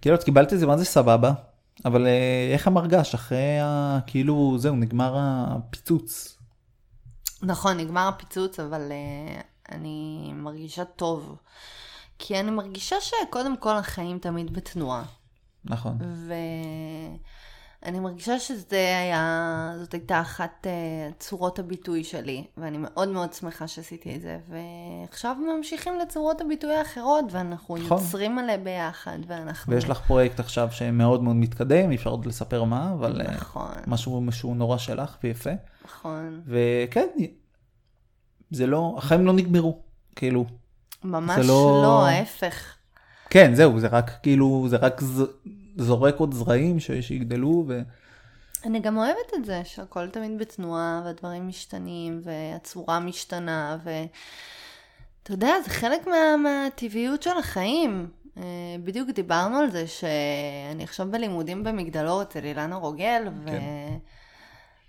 B: כאילו, את קיבלת את זה, מה זה סבבה? אבל אה, איך המרגש אחרי ה... כאילו, זהו, נגמר הפיצוץ.
A: נכון, נגמר הפיצוץ, אבל אה, אני מרגישה טוב. כי אני מרגישה שקודם כל החיים תמיד בתנועה.
B: נכון.
A: ואני מרגישה שזה היה, זאת הייתה אחת אה, צורות הביטוי שלי, ואני מאוד מאוד שמחה שעשיתי את זה. ועכשיו ממשיכים לצורות הביטוי האחרות, ואנחנו
B: נכון.
A: יוצרים עליה ביחד, ואנחנו...
B: ויש לך פרויקט עכשיו שמאוד מאוד מתקדם, אי אפשר עוד לספר מה, אבל אה,
A: נכון,
B: משהו שהוא נורא שלך ויפה.
A: נכון.
B: וכן, זה לא, החיים לא נגמרו, כאילו.
A: ממש
B: זה לא-
A: לא... לא, ההפך.
B: כן, זהו, זה רק כאילו, זה רק ז... זורק עוד זרעים ש... שיגדלו, ו...
A: אני גם אוהבת את זה שהכל תמיד בתנועה והדברים משתנים והצורה משתנה ואתה יודע זה חלק מה... מהטבעיות של החיים. אה, בדיוק דיברנו על זה שאני עכשיו בלימודים במגדלור אצל אילנה רוגל ו...
B: כן.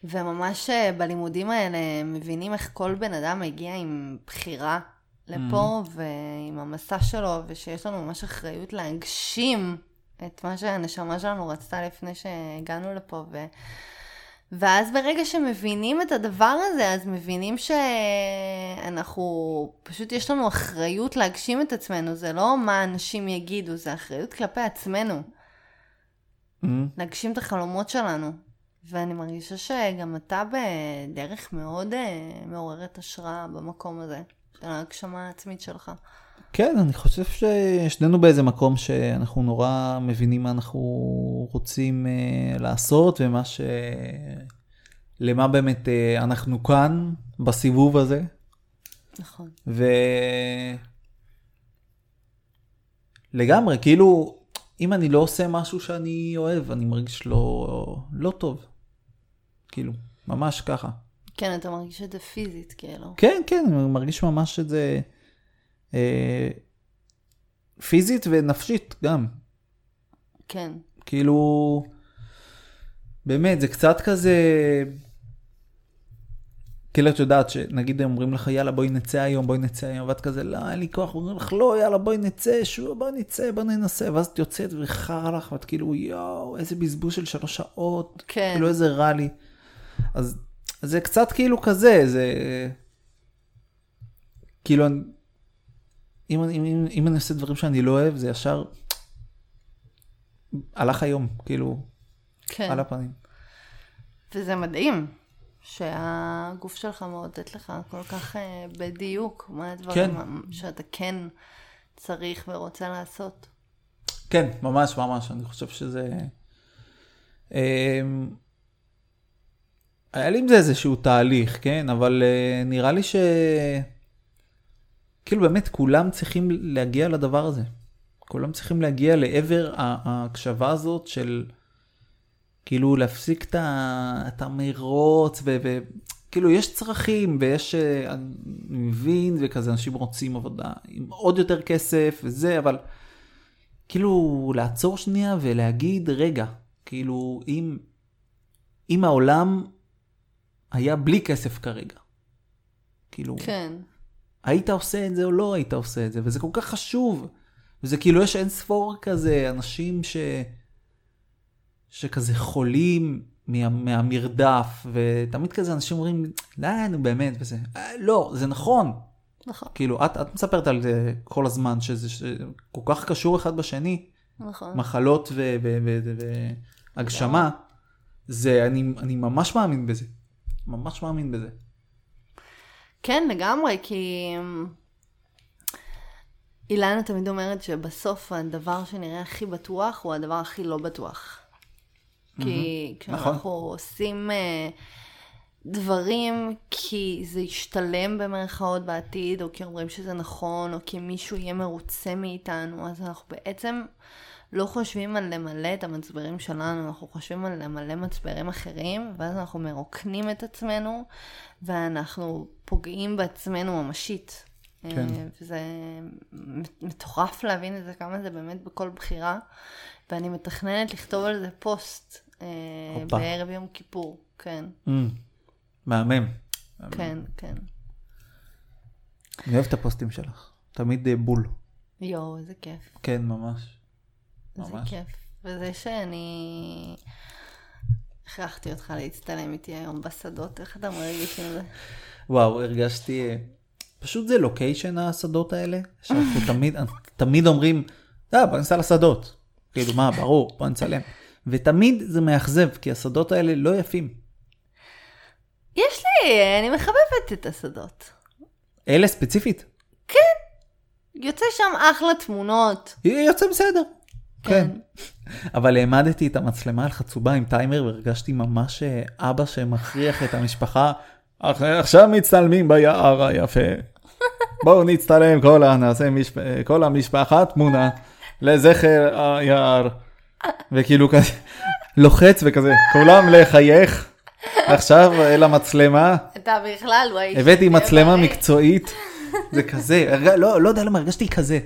A: וממש אה, בלימודים האלה מבינים איך כל בן אדם הגיע עם בחירה לפה ועם המסע שלו ושיש לנו ממש אחריות להגשים את מה שהנשמה שלנו רצתה לפני שהגענו לפה. ו... ואז ברגע שמבינים את הדבר הזה, אז מבינים שאנחנו, פשוט יש לנו אחריות להגשים את עצמנו, זה לא מה אנשים יגידו, זה אחריות כלפי עצמנו,
B: Mm,
A: להגשים את החלומות שלנו. ואני מרגישה שגם אתה בדרך מאוד אה, מעוררת השראה במקום הזה, של ההגשמה העצמית שלך.
B: כן, אני חושב ששנינו באיזה מקום שאנחנו נורא מבינים מה אנחנו רוצים אה, לעשות, ומה ש... למה באמת אה, אנחנו כאן, בסיבוב הזה,
A: נכון.
B: ו... לגמרי, כאילו, אם אני לא עושה משהו שאני אוהב, אני מרגיש לא, לא טוב. כאילו, ממש ככה.
A: כן, אתה מרגיש את זה פיזית, כאילו.
B: כן, כן, אני מרגיש ממש את זה אה, פיזית ונפשית גם.
A: כן.
B: כאילו, באמת, זה קצת כזה... כאילו את יודעת שנגיד הם אומרים לך יאללה בואי נצא היום בואי נצא היום ואת כזה לא אין לי כוח אומרים לך לא יאללה בואי נצא שוב בואי נצא בואי ננסה ואז את יוצאת וחרא לך ואת כאילו יואו איזה בזבוז של שלוש שעות
A: כן.
B: כאילו איזה רע לי. אז אז זה קצת כאילו כזה זה כאילו אני- אם, אני- אם, אם, אם אני עושה דברים שאני לא אוהב זה ישר הלך היום כאילו
A: כן.
B: על הפנים.
A: וזה מדהים שהגוף שלך מעודד לך כל כך אה, בדיוק מה הדברים
B: כן.
A: שאתה כן צריך ורוצה לעשות.
B: כן, ממש ממש, אני חושב שזה... אמ, היה לי עם זה איזשהו תהליך, כן? אבל אה, נראה לי ש... כאילו באמת כולם צריכים להגיע לדבר הזה. כולם צריכים להגיע לעבר ה- ההקשבה הזאת של כאילו להפסיק את ה- את המרוץ ו... ו... כאילו יש צרכים ויש, אה, אני מבין, וכזה אנשים רוצים עבודה עם עוד יותר כסף וזה, אבל כאילו לעצור שנייה ולהגיד, רגע, כאילו אם, אם העולם היה בלי כסף כרגע, כאילו,
A: כן.
B: היית עושה את זה או לא היית עושה את זה, וזה כל כך חשוב. וזה כאילו יש אין ספור כזה אנשים ש... שכזה חולים מה... מהמרדף, ותמיד כזה אנשים אומרים, לא, נו באמת, וזה, "אה, לא, זה נכון.
A: נכון,
B: כאילו, את, את מספרת על זה כל הזמן, שזה ש... כל כך קשור אחד בשני.
A: נכון.
B: מחלות ו- ו- ו- ו- והגשמה, זה, אני, אני ממש מאמין בזה. ממש מאמין בזה.
A: כן, לגמרי, כי אמ, אילנה תמיד אומרת שבסוף הדבר שנראה הכי בטוח הוא הדבר הכי לא בטוח. כי כשאנחנו
B: נכון.
A: עושים אה, דברים כי זה ישתלם במרכאות בעתיד, או כי אומרים שזה נכון, או כי מישהו יהיה מרוצה מאיתנו, אז אנחנו בעצם לא חושבים על למלא את המצברים שלנו, אנחנו חושבים על למלא מצברים אחרים, ואז אנחנו מרוקנים את עצמנו, ואנחנו פוגעים בעצמנו ממשית.
B: כן.
A: אה, וזה מטורף להבין את זה, כמה זה באמת בכל בחירה. ואני מתכננת לכתוב על זה פוסט אה,
B: הופה.
A: בערב יום כיפור. כן,
B: Mm. מהמם.
A: כן, כן.
B: אני אוהב את הפוסטים שלך. תמיד אה, בול.
A: יואו, איזה כיף.
B: כן, ממש.
A: איזה
B: ממש.
A: כיף. וזה שאני הכרחתי אותך להצטלם איתי היום בשדות, איך אתה מרגיש עם זה?
B: וואו, הרגשתי... אה, פשוט זה לוקיישן השדות האלה, שאנחנו תמיד, תמיד אומרים, אה, בוא ניסע לשדות. כאילו, מה, ברור, בוא נצלם. ותמיד זה מאכזב, כי השדות האלה לא יפים.
A: יש לי, אני מחבבת את השדות.
B: אלה ספציפית.
A: יוצא שם אחלה תמונות.
B: יוצא בסדר.
A: כן.
B: אבל העמדתי את המצלמה על חצובה עם טיימר והרגשתי ממש אה, אבא שמכריח את המשפחה. "אח- עכשיו מצטלמים ביער היפה. בואו נצטלם כל, ה- נעשה משפ... אה, כל המשפחה תמונה לזכר היער. וכאילו כזה לוחץ וכזה כולם לחייך. עכשיו אל המצלמה.
A: אתה בכלל, הוא האיש...
B: הבאתי
A: שתהיה
B: מצלמה
A: בריא.
B: מקצועית. זה כזה. הרג- לא, לא יודע למה הרגשתי כזה.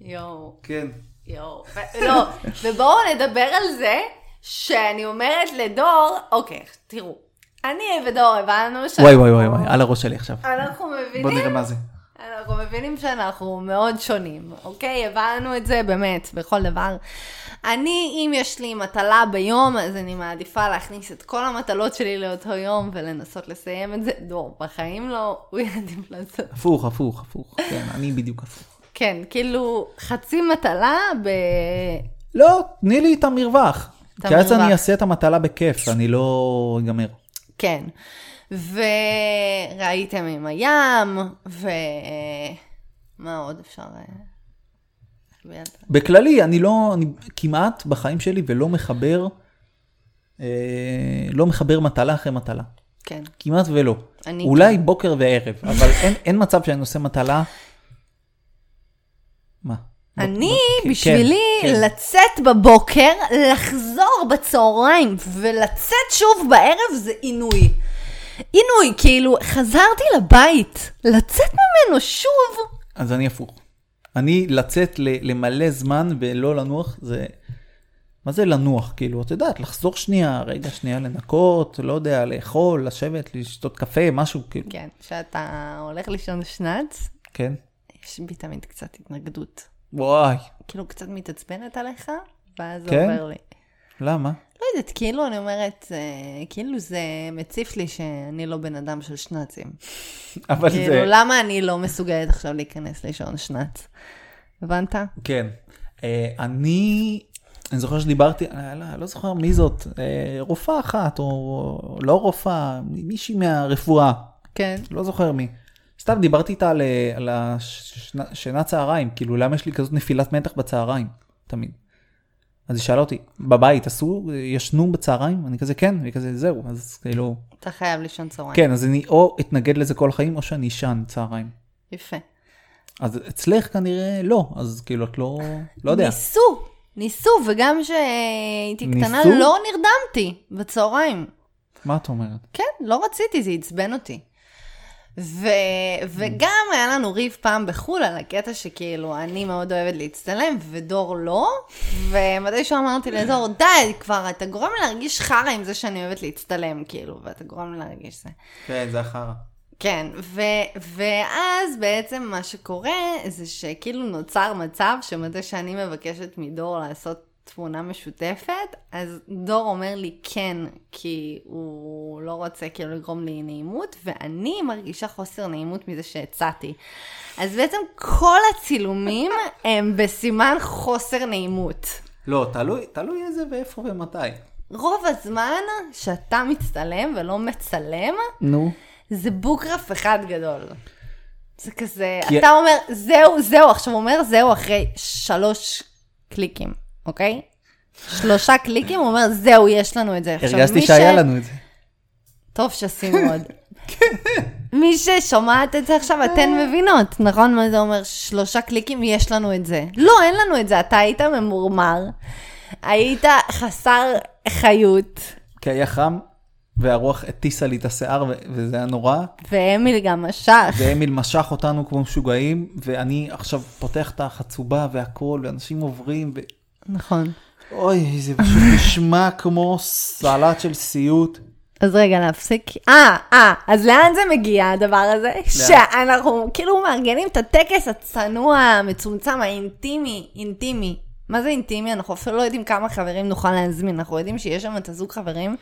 A: יואו.
B: כן.
A: יואו, ו- לא, ובואו נדבר על זה שאני אומרת לדור, אוקיי, תראו, אני ודור הבנו ש...
B: וואי וואי וואי וואי, על הראש שלי עכשיו.
A: אנחנו
B: בוא
A: מבינים,
B: נראה מה זה.
A: אנחנו מבינים שאנחנו מאוד שונים, אוקיי? הבנו את זה באמת, בכל דבר. אני, אם יש לי מטלה ביום, אז אני מעדיפה להכניס את כל המטלות שלי לאותו יום ולנסות לסיים את זה. דור, בחיים לא, הוא יעדיף לעשות
B: הפוך, הפוך, הפוך. כן, אני בדיוק הפוך.
A: כן, כאילו, חצי מטלה ב...
B: לא, תני לי את המרווח.
A: את
B: כי אז
A: המרווח.
B: אני אעשה את המטלה בכיף, אני לא אגמר.
A: כן. וראיתם עם הים, ו... מה עוד אפשר? אה, להחביא על זה?
B: בכללי, אני לא, אני כמעט בחיים שלי ולא מחבר, אה, לא מחבר מטלה אחרי מטלה.
A: כן.
B: כמעט ולא.
A: אני- כן.
B: אולי בוקר וערב, אבל אין, אין מצב שאני עושה מטלה. מה?
A: אני,
B: כן,
A: בשבילי,
B: כן.
A: לצאת בבוקר, לחזור בצהריים ולצאת שוב בערב זה עינוי. עינוי, כאילו, חזרתי לבית, לצאת ממנו שוב.
B: אז אני הפוך. אני לצאת ל- למלא זמן ולא לנוח, זה... מה זה לנוח? כאילו, את יודעת, לחזור שנייה, רגע שנייה לנקות, לא יודע, לאכול, לשבת, לשתות קפה, משהו, כאילו,
A: כן, כשאתה הולך לישון שנץ,
B: כן?
A: יש בי תמיד קצת התנגדות.
B: וואי,
A: כאילו, קצת מתעצבנת עליך, ואז זה
B: כן?
A: עובר לי.
B: למה?
A: לא יודעת, כאילו, אני אומרת, אה, כאילו זה מציף לי שאני לא בן אדם של שנצים.
B: אבל
A: כאילו,
B: זה...
A: למה אני לא מסוגלת עכשיו להיכנס לישון שנץ? הבנת?
B: כן. אה, אני, אני זוכר שדיברתי, אה, לא, לא זוכר מי זאת, אה, רופאה אחת, או לא רופאה, מישהי מהרפואה,
A: כן.
B: לא זוכר מי. סתם דיברתי איתה על, אה, על השינה צהריים, כאילו למה יש לי כזאת נפילת מתח בצהריים, תמיד. אז היא שאלה אותי, בבית עשו, ישנו בצהריים? אני כזה כן, והיא כזה זהו, אז כאילו,
A: אתה חייב לישון צהריים.
B: כן, אז אני או אתנגד לזה כל החיים, או שאני אשן צהריים.
A: יפה.
B: לא אז אצלך כנראה לא, אז כאילו את לא, לא יודע.
A: ניסו, ניסו, וגם כשהייתי קטנה
B: ניסו?
A: לא נרדמתי בצהריים.
B: מה את אומרת?
A: כן, לא רציתי, זה עצבן אותי. ו... וגם היה לנו ריב פעם בחו"ל על הקטע שכאילו אני מאוד אוהבת להצטלם ודור לא, ומתישהו אמרתי לדור, די כבר, אתה גורם לי להרגיש חרא עם זה שאני אוהבת להצטלם, כאילו, ואתה גורם לי להרגיש זה.
B: כן, זה החרא.
A: כן, ו, ואז בעצם מה שקורה זה שכאילו נוצר מצב שמתי שאני מבקשת מדור לעשות תמונה משותפת, אז דור אומר לי כן, כי הוא לא רוצה כאילו לגרום לי נעימות, ואני מרגישה חוסר נעימות מזה שהצעתי. אז בעצם כל הצילומים הם בסימן חוסר נעימות.
B: לא, תלוי, תלוי איזה ואיפה ומתי.
A: רוב הזמן שאתה מצטלם ולא מצלם,
B: נו.
A: זה בוקרף אחד גדול. זה כזה,
B: כי-
A: אתה אומר, זהו, זהו, עכשיו הוא אומר, זהו, אחרי שלוש קליקים, אוקיי? שלושה קליקים, הוא אומר, זהו, יש לנו את זה. עכשיו,
B: הרגשתי
A: מי
B: שהיה
A: ש-
B: לנו כן. את זה.
A: טוב שעשינו עוד. מי ששומעת את זה עכשיו, אתן מבינות, נכון? מה זה אומר? שלושה קליקים, יש לנו את זה. לא, אין לנו את זה. אתה היית ממורמר, היית חסר חיות,
B: כי היה חם, והרוח הטיסה לי את השיער, ו- וזה היה נורא.
A: ואמיל גם משך.
B: ואמיל משך אותנו כמו משוגעים, ואני עכשיו פותח את החצובה והכול, ואנשים עוברים, ו...
A: נכון.
B: אוי, זה פשוט נשמע כמו סלט של סיוט.
A: אז רגע, להפסיק. אה, אה, אז לאן זה מגיע הדבר הזה? שאנחנו כאילו מארגנים את הטקס הצנוע, המצומצם, האינטימי, אינטימי. מה זה אינטימי? אנחנו אפילו לא יודעים כמה חברים נוכל להזמין. אנחנו יודעים שיש שם את הזוג חברים,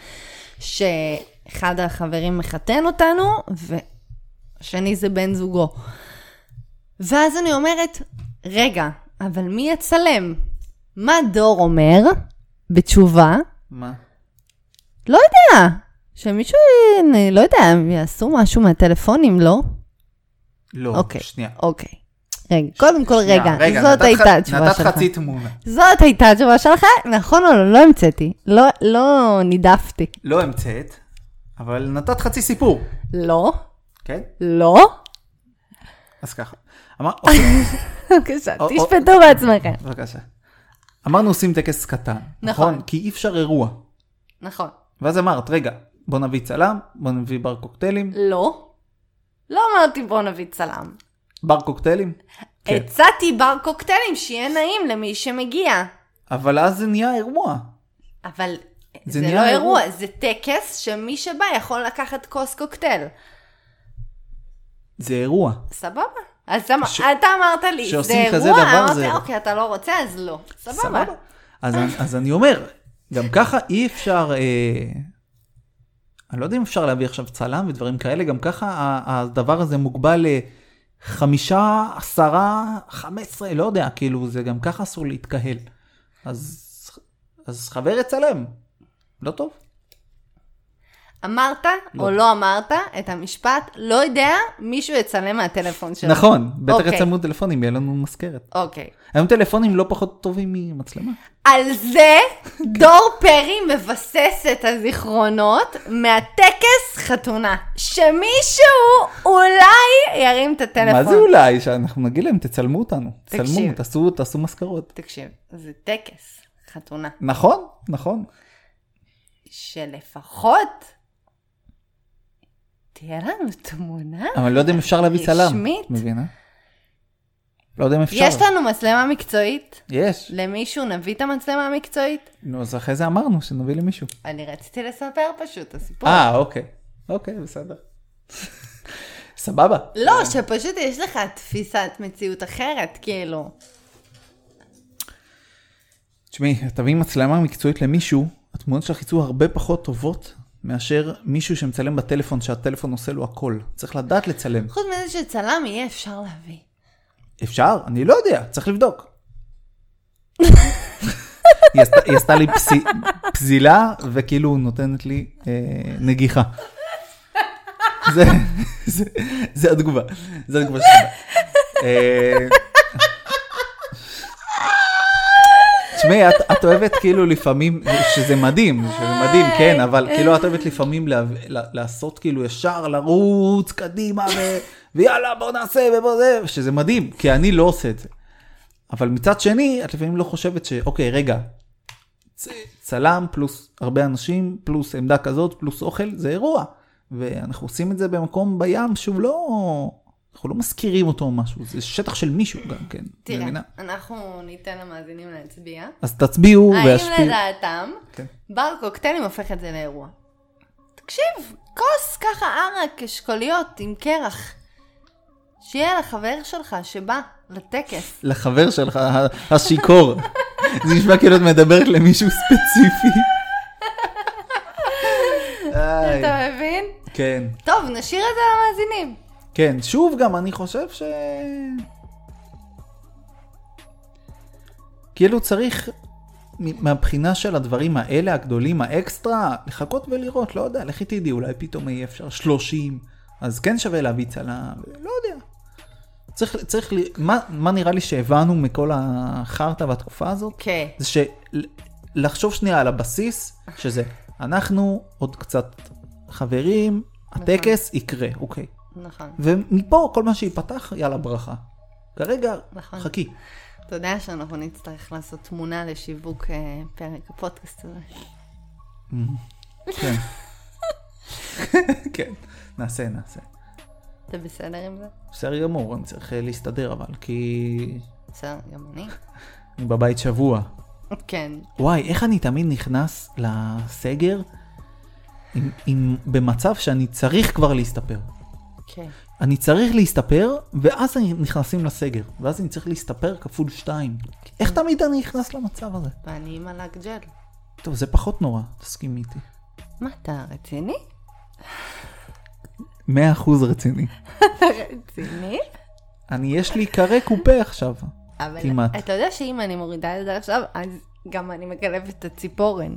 A: שאחד החברים מחתן אותנו, והשני זה בן זוגו. ואז אני אומרת, רגע, אבל מי יצלם? מה דור אומר בתשובה?
B: מה?
A: לא יודע, שמישהו, אה, לא יודע, יעשו משהו מהטלפונים, לא?
B: לא,
A: אוקיי.
B: שנייה.
A: אוקיי. רגע, קודם כל,
B: שנייה,
A: רגע,
B: רגע,
A: זאת
B: נתת ח-
A: הייתה התשובה
B: נתת
A: שלך.
B: חצי תמונה.
A: זאת הייתה התשובה שלך, נכון או לא? לא המצאתי. לא, לא נידפתי.
B: לא המצאת, אבל נתת חצי סיפור.
A: לא,
B: כן?
A: לא.
B: אז ככה. אמר, אוקיי,
A: בבקשה,
B: או- או-
A: תשפטו בעצמכם.
B: בבקשה. אמרנו עושים טקס קטן,
A: נכון.
B: נכון? כי אי אפשר אירוע.
A: נכון.
B: ואז אמרת, רגע, בוא נביא צלם, בוא נביא בר קוקטיילים.
A: לא. לא אמרתי בוא נביא צלם.
B: בר קוקטיילים? כן.
A: הצעתי בר קוקטיילים שיהיה נעים למי שמגיע.
B: אבל אז זה נהיה אירוע.
A: אבל
B: זה
A: זה, זה
B: נהיה
A: לא
B: אירוע.
A: אירוע, זה טקס שמי שבא יכול לקחת כוס קוקטייל.
B: זה אירוע.
A: סבבה. אז למה,
B: ש-
A: אתה אמרת לי, זה
B: שעושים כזה
A: אירוע,
B: דבר,
A: אמרתי,
B: זה-
A: אוקיי, אתה לא רוצה, אז לא. סבבה.
B: סבבה. אז, אז אני אומר, גם ככה אי אפשר, אה, אני לא יודע אם אפשר להביא עכשיו צלם ודברים כאלה, גם ככה ה- הדבר הזה מוגבל לחמישה, עשרה, חמש עשרה, לא יודע, כאילו זה גם ככה אסור להתקהל. אז, אז חבר יצלם, לא טוב?
A: אמרת או לא אמרת את המשפט, לא יודע, מישהו יצלם מהטלפון שלו.
B: נכון, בטח
A: אוקיי.
B: יצלמו טלפונים, יהיה לנו מזכרת.
A: אוקיי.
B: היום טלפונים לא פחות טובים ממצלמה.
A: על זה דור פרי מבסס את הזיכרונות מהטקס חתונה, שמישהו אולי ירים את הטלפון.
B: מה זה אולי? שאנחנו נגיד להם, תצלמו אותנו.
A: תקשיב.
B: תצלמו, תעשו- תעשו מזכרות.
A: תקשיב, זה טקס, חתונה,
B: נכון, נכון.
A: שלפחות תהיה לנו תמונה.
B: אבל לא יודע אם אפשר להביא צלם.
A: רשמית?
B: מבינה? לא יודע אם אפשר.
A: יש לנו מצלמה מקצועית?
B: יש.
A: למישהו נביא את המצלמה המקצועית?
B: נו, אז אחרי זה אמרנו שנביא למישהו.
A: אני רציתי לספר פשוט את הסיפור.
B: אה, אוקיי. אוקיי, בסדר. סבבה.
A: לא, שפשוט יש לך תפיסת מציאות אחרת, כאילו.
B: תשמעי, תביאי מצלמה מקצועית למישהו, התמונות שלך יצאו הרבה פחות טובות מאשר מישהו שמצלם בטלפון, שהטלפון עושה לו הכל. צריך לדעת לצלם.
A: חוץ מזה שצלם יהיה אפשר להביא.
B: אפשר? אני לא יודע, צריך לבדוק. היא, עשתה, היא עשתה לי פסי, פזילה, וכאילו נותנת לי אה, נגיחה. זה, זה, זה התגובה, זה התגובה שלך. אה, תשמעי, את, את אוהבת כאילו לפעמים, שזה מדהים, שזה מדהים, כן, אבל כאילו את אוהבת לפעמים לה, לה, לעשות כאילו ישר, לרוץ קדימה, ו, ויאללה בוא נעשה ובוא זה, שזה מדהים, כי אני לא עושה את זה. אבל מצד שני, את לפעמים לא חושבת ש... אוקיי, רגע, צ, צלם פלוס הרבה אנשים, פלוס עמדה כזאת, פלוס אוכל, זה אירוע. ואנחנו עושים את זה במקום בים שהוא לא... אנחנו לא מזכירים אותו או משהו, זה שטח של מישהו גם כן.
A: תראה,
B: מבינה?
A: אנחנו ניתן למאזינים להצביע.
B: אז תצביעו
A: האם
B: וישפיעו.
A: לדעתם,
B: כן.
A: בר קוקטיילים הופך את זה לאירוע? תקשיב, כוס ככה ערק, אשכוליות עם קרח. שיהיה לחבר שלך שבא לטקס.
B: לחבר שלך ה- השיכור. זה נשמע כאילו את מדברת למישהו ספציפי. איי,
A: אתה מבין?
B: כן,
A: טוב, נשאיר את זה למאזינים.
B: כן, שוב גם אני חושב ש... כאילו צריך מ- מהבחינה של הדברים האלה הגדולים האקסטרה לחכות ולראות לא יודע לכי תדעי אולי פתאום יהיה אפשר 30 אז כן שווה להביא צלם לא יודע. צריך צריך ל- מה, מה נראה לי שהבנו מכל החרטא והתקופה הזאת
A: כן.
B: זה שלחשוב שנייה על הבסיס, שזה אנחנו עוד קצת חברים, הטקס יקרה, אוקיי.
A: נכון.
B: ומפה כל מה שייפתח, יאללה ברכה. כרגע,
A: נכון.
B: חכי.
A: אתה יודע שאנחנו נצטרך לעשות תמונה לשיווק אה, פרק הפודקאסט הזה.
B: כן. כן, נעשה, נעשה.
A: אתה בסדר עם זה?
B: בסדר גמור, אני צריך אה, להסתדר אבל, כי
A: בסדר, גם אני.
B: אני בבית שבוע.
A: כן.
B: וואי, איך אני תמיד נכנס לסגר עם, עם, במצב שאני צריך כבר להסתפר.
A: כן.
B: אני צריך להסתפר, ואז אני נכנסים לסגר, ואז אני צריך להסתפר כפול שתיים. איך תמיד אני נכנס למצב הזה?
A: ואני עם הלק ג'ל.
B: טוב, זה פחות נורא, תסכימי איתי.
A: מה, אתה רציני?
B: מאה אחוז רציני.
A: רציני?
B: אני, יש לי קרי קופה עכשיו.
A: אבל
B: כמעט.
A: אתה יודע שאם אני מורידה את זה עכשיו, אז גם אני מגלבת את הציפורן.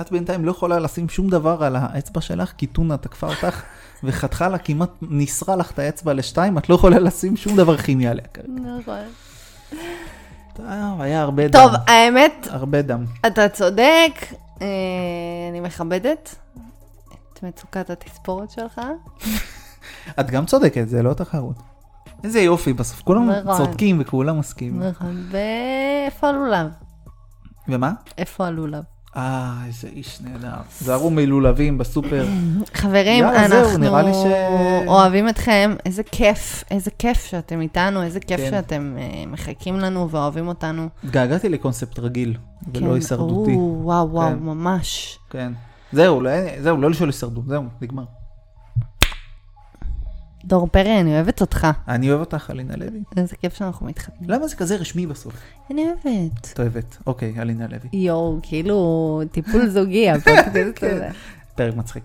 B: את בינתיים לא יכולה לשים שום דבר על האצבע שלך, כי טונה תקפה אותך וחתכה לה, כמעט ניסרה לך את האצבע לשתיים, את לא יכולה לשים שום דבר כימי עליה כרגע.
A: נכון.
B: טוב, היה הרבה דם.
A: טוב, האמת,
B: הרבה דם.
A: אתה צודק, אה, אני מכבדת את מצוקת התספורת שלך.
B: את גם צודקת, זה לא תחרות. איזה יופי, בסוף כולם
A: נכון.
B: צודקים וכולם מסכימים.
A: נכון, ואיפה הלולב? נכון.
B: ומה?
A: איפה הלולב?
B: אה, איזה איש נהדר. זהרו מלולבים בסופר.
A: חברים,
B: יאללה, זהו,
A: אנחנו
B: נראה לי ש-
A: אוהבים אתכם, איזה כיף, איזה כיף שאתם איתנו, איזה כיף
B: כן.
A: שאתם אה, מחכים לנו ואוהבים אותנו.
B: התגעגעתי לקונספט רגיל, ולא
A: כן,
B: הישרדותי.
A: או, וואו, וואו,
B: כן.
A: ממש.
B: כן. זהו, לא- זהו, לא לשאול הישרדות, זהו, נגמר.
A: דור פרי, אני אוהבת אותך.
B: אני אוהב אותך, אלינה לוי.
A: איזה כיף שאנחנו מתחתנים.
B: למה זה כזה רשמי בסוף?
A: אני אוהבת.
B: את אוהבת. אוקיי, אלינה לוי.
A: יואו, כאילו, טיפול זוגי, הפודקאסט
B: כן.
A: הזה.
B: פרק מצחיק.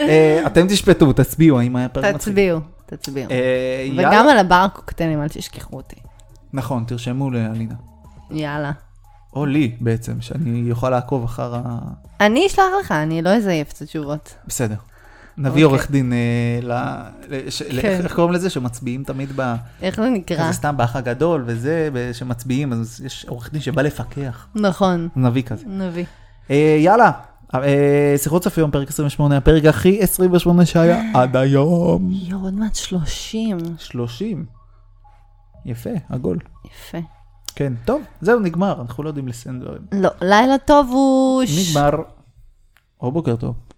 B: אה, אתם תשפטו, תצביעו, האם היה פרק מצחיק.
A: תצביעו, תצביעו.
B: אה,
A: וגם
B: יאללה.
A: על הבר קוקטיילים, אל תשכחו אותי.
B: נכון, תרשמו לאלינה.
A: יאללה.
B: או לי בעצם, שאני אוכל לעקוב אחר ה...
A: אני אשלח לך, אני לא אזייף את התשובות.
B: בסדר.
A: אוקיי.
B: נביא עורך דין, אה, ל- ל- ש- ל-
A: כן.
B: איך קוראים לזה? שמצביעים תמיד ב...
A: איך זה נקרא?
B: כזה סתם באח הגדול וזה, ו- שמצביעים, אז יש עורך דין שבא לפקח.
A: נכון,
B: נביא כזה.
A: נביא.
B: אה, יאללה, אה, שיחות סוף יום, פרק 28, הפרק הכי 28 שהיה עד היום.
A: יואו, עוד מעט 30.
B: 30. יפה, עגול.
A: יפה.
B: כן, טוב, זהו, נגמר, אנחנו לא יודעים לסיים דברים.
A: לא, לילה טוב הוא... ש-
B: נגמר. או בוקר טוב.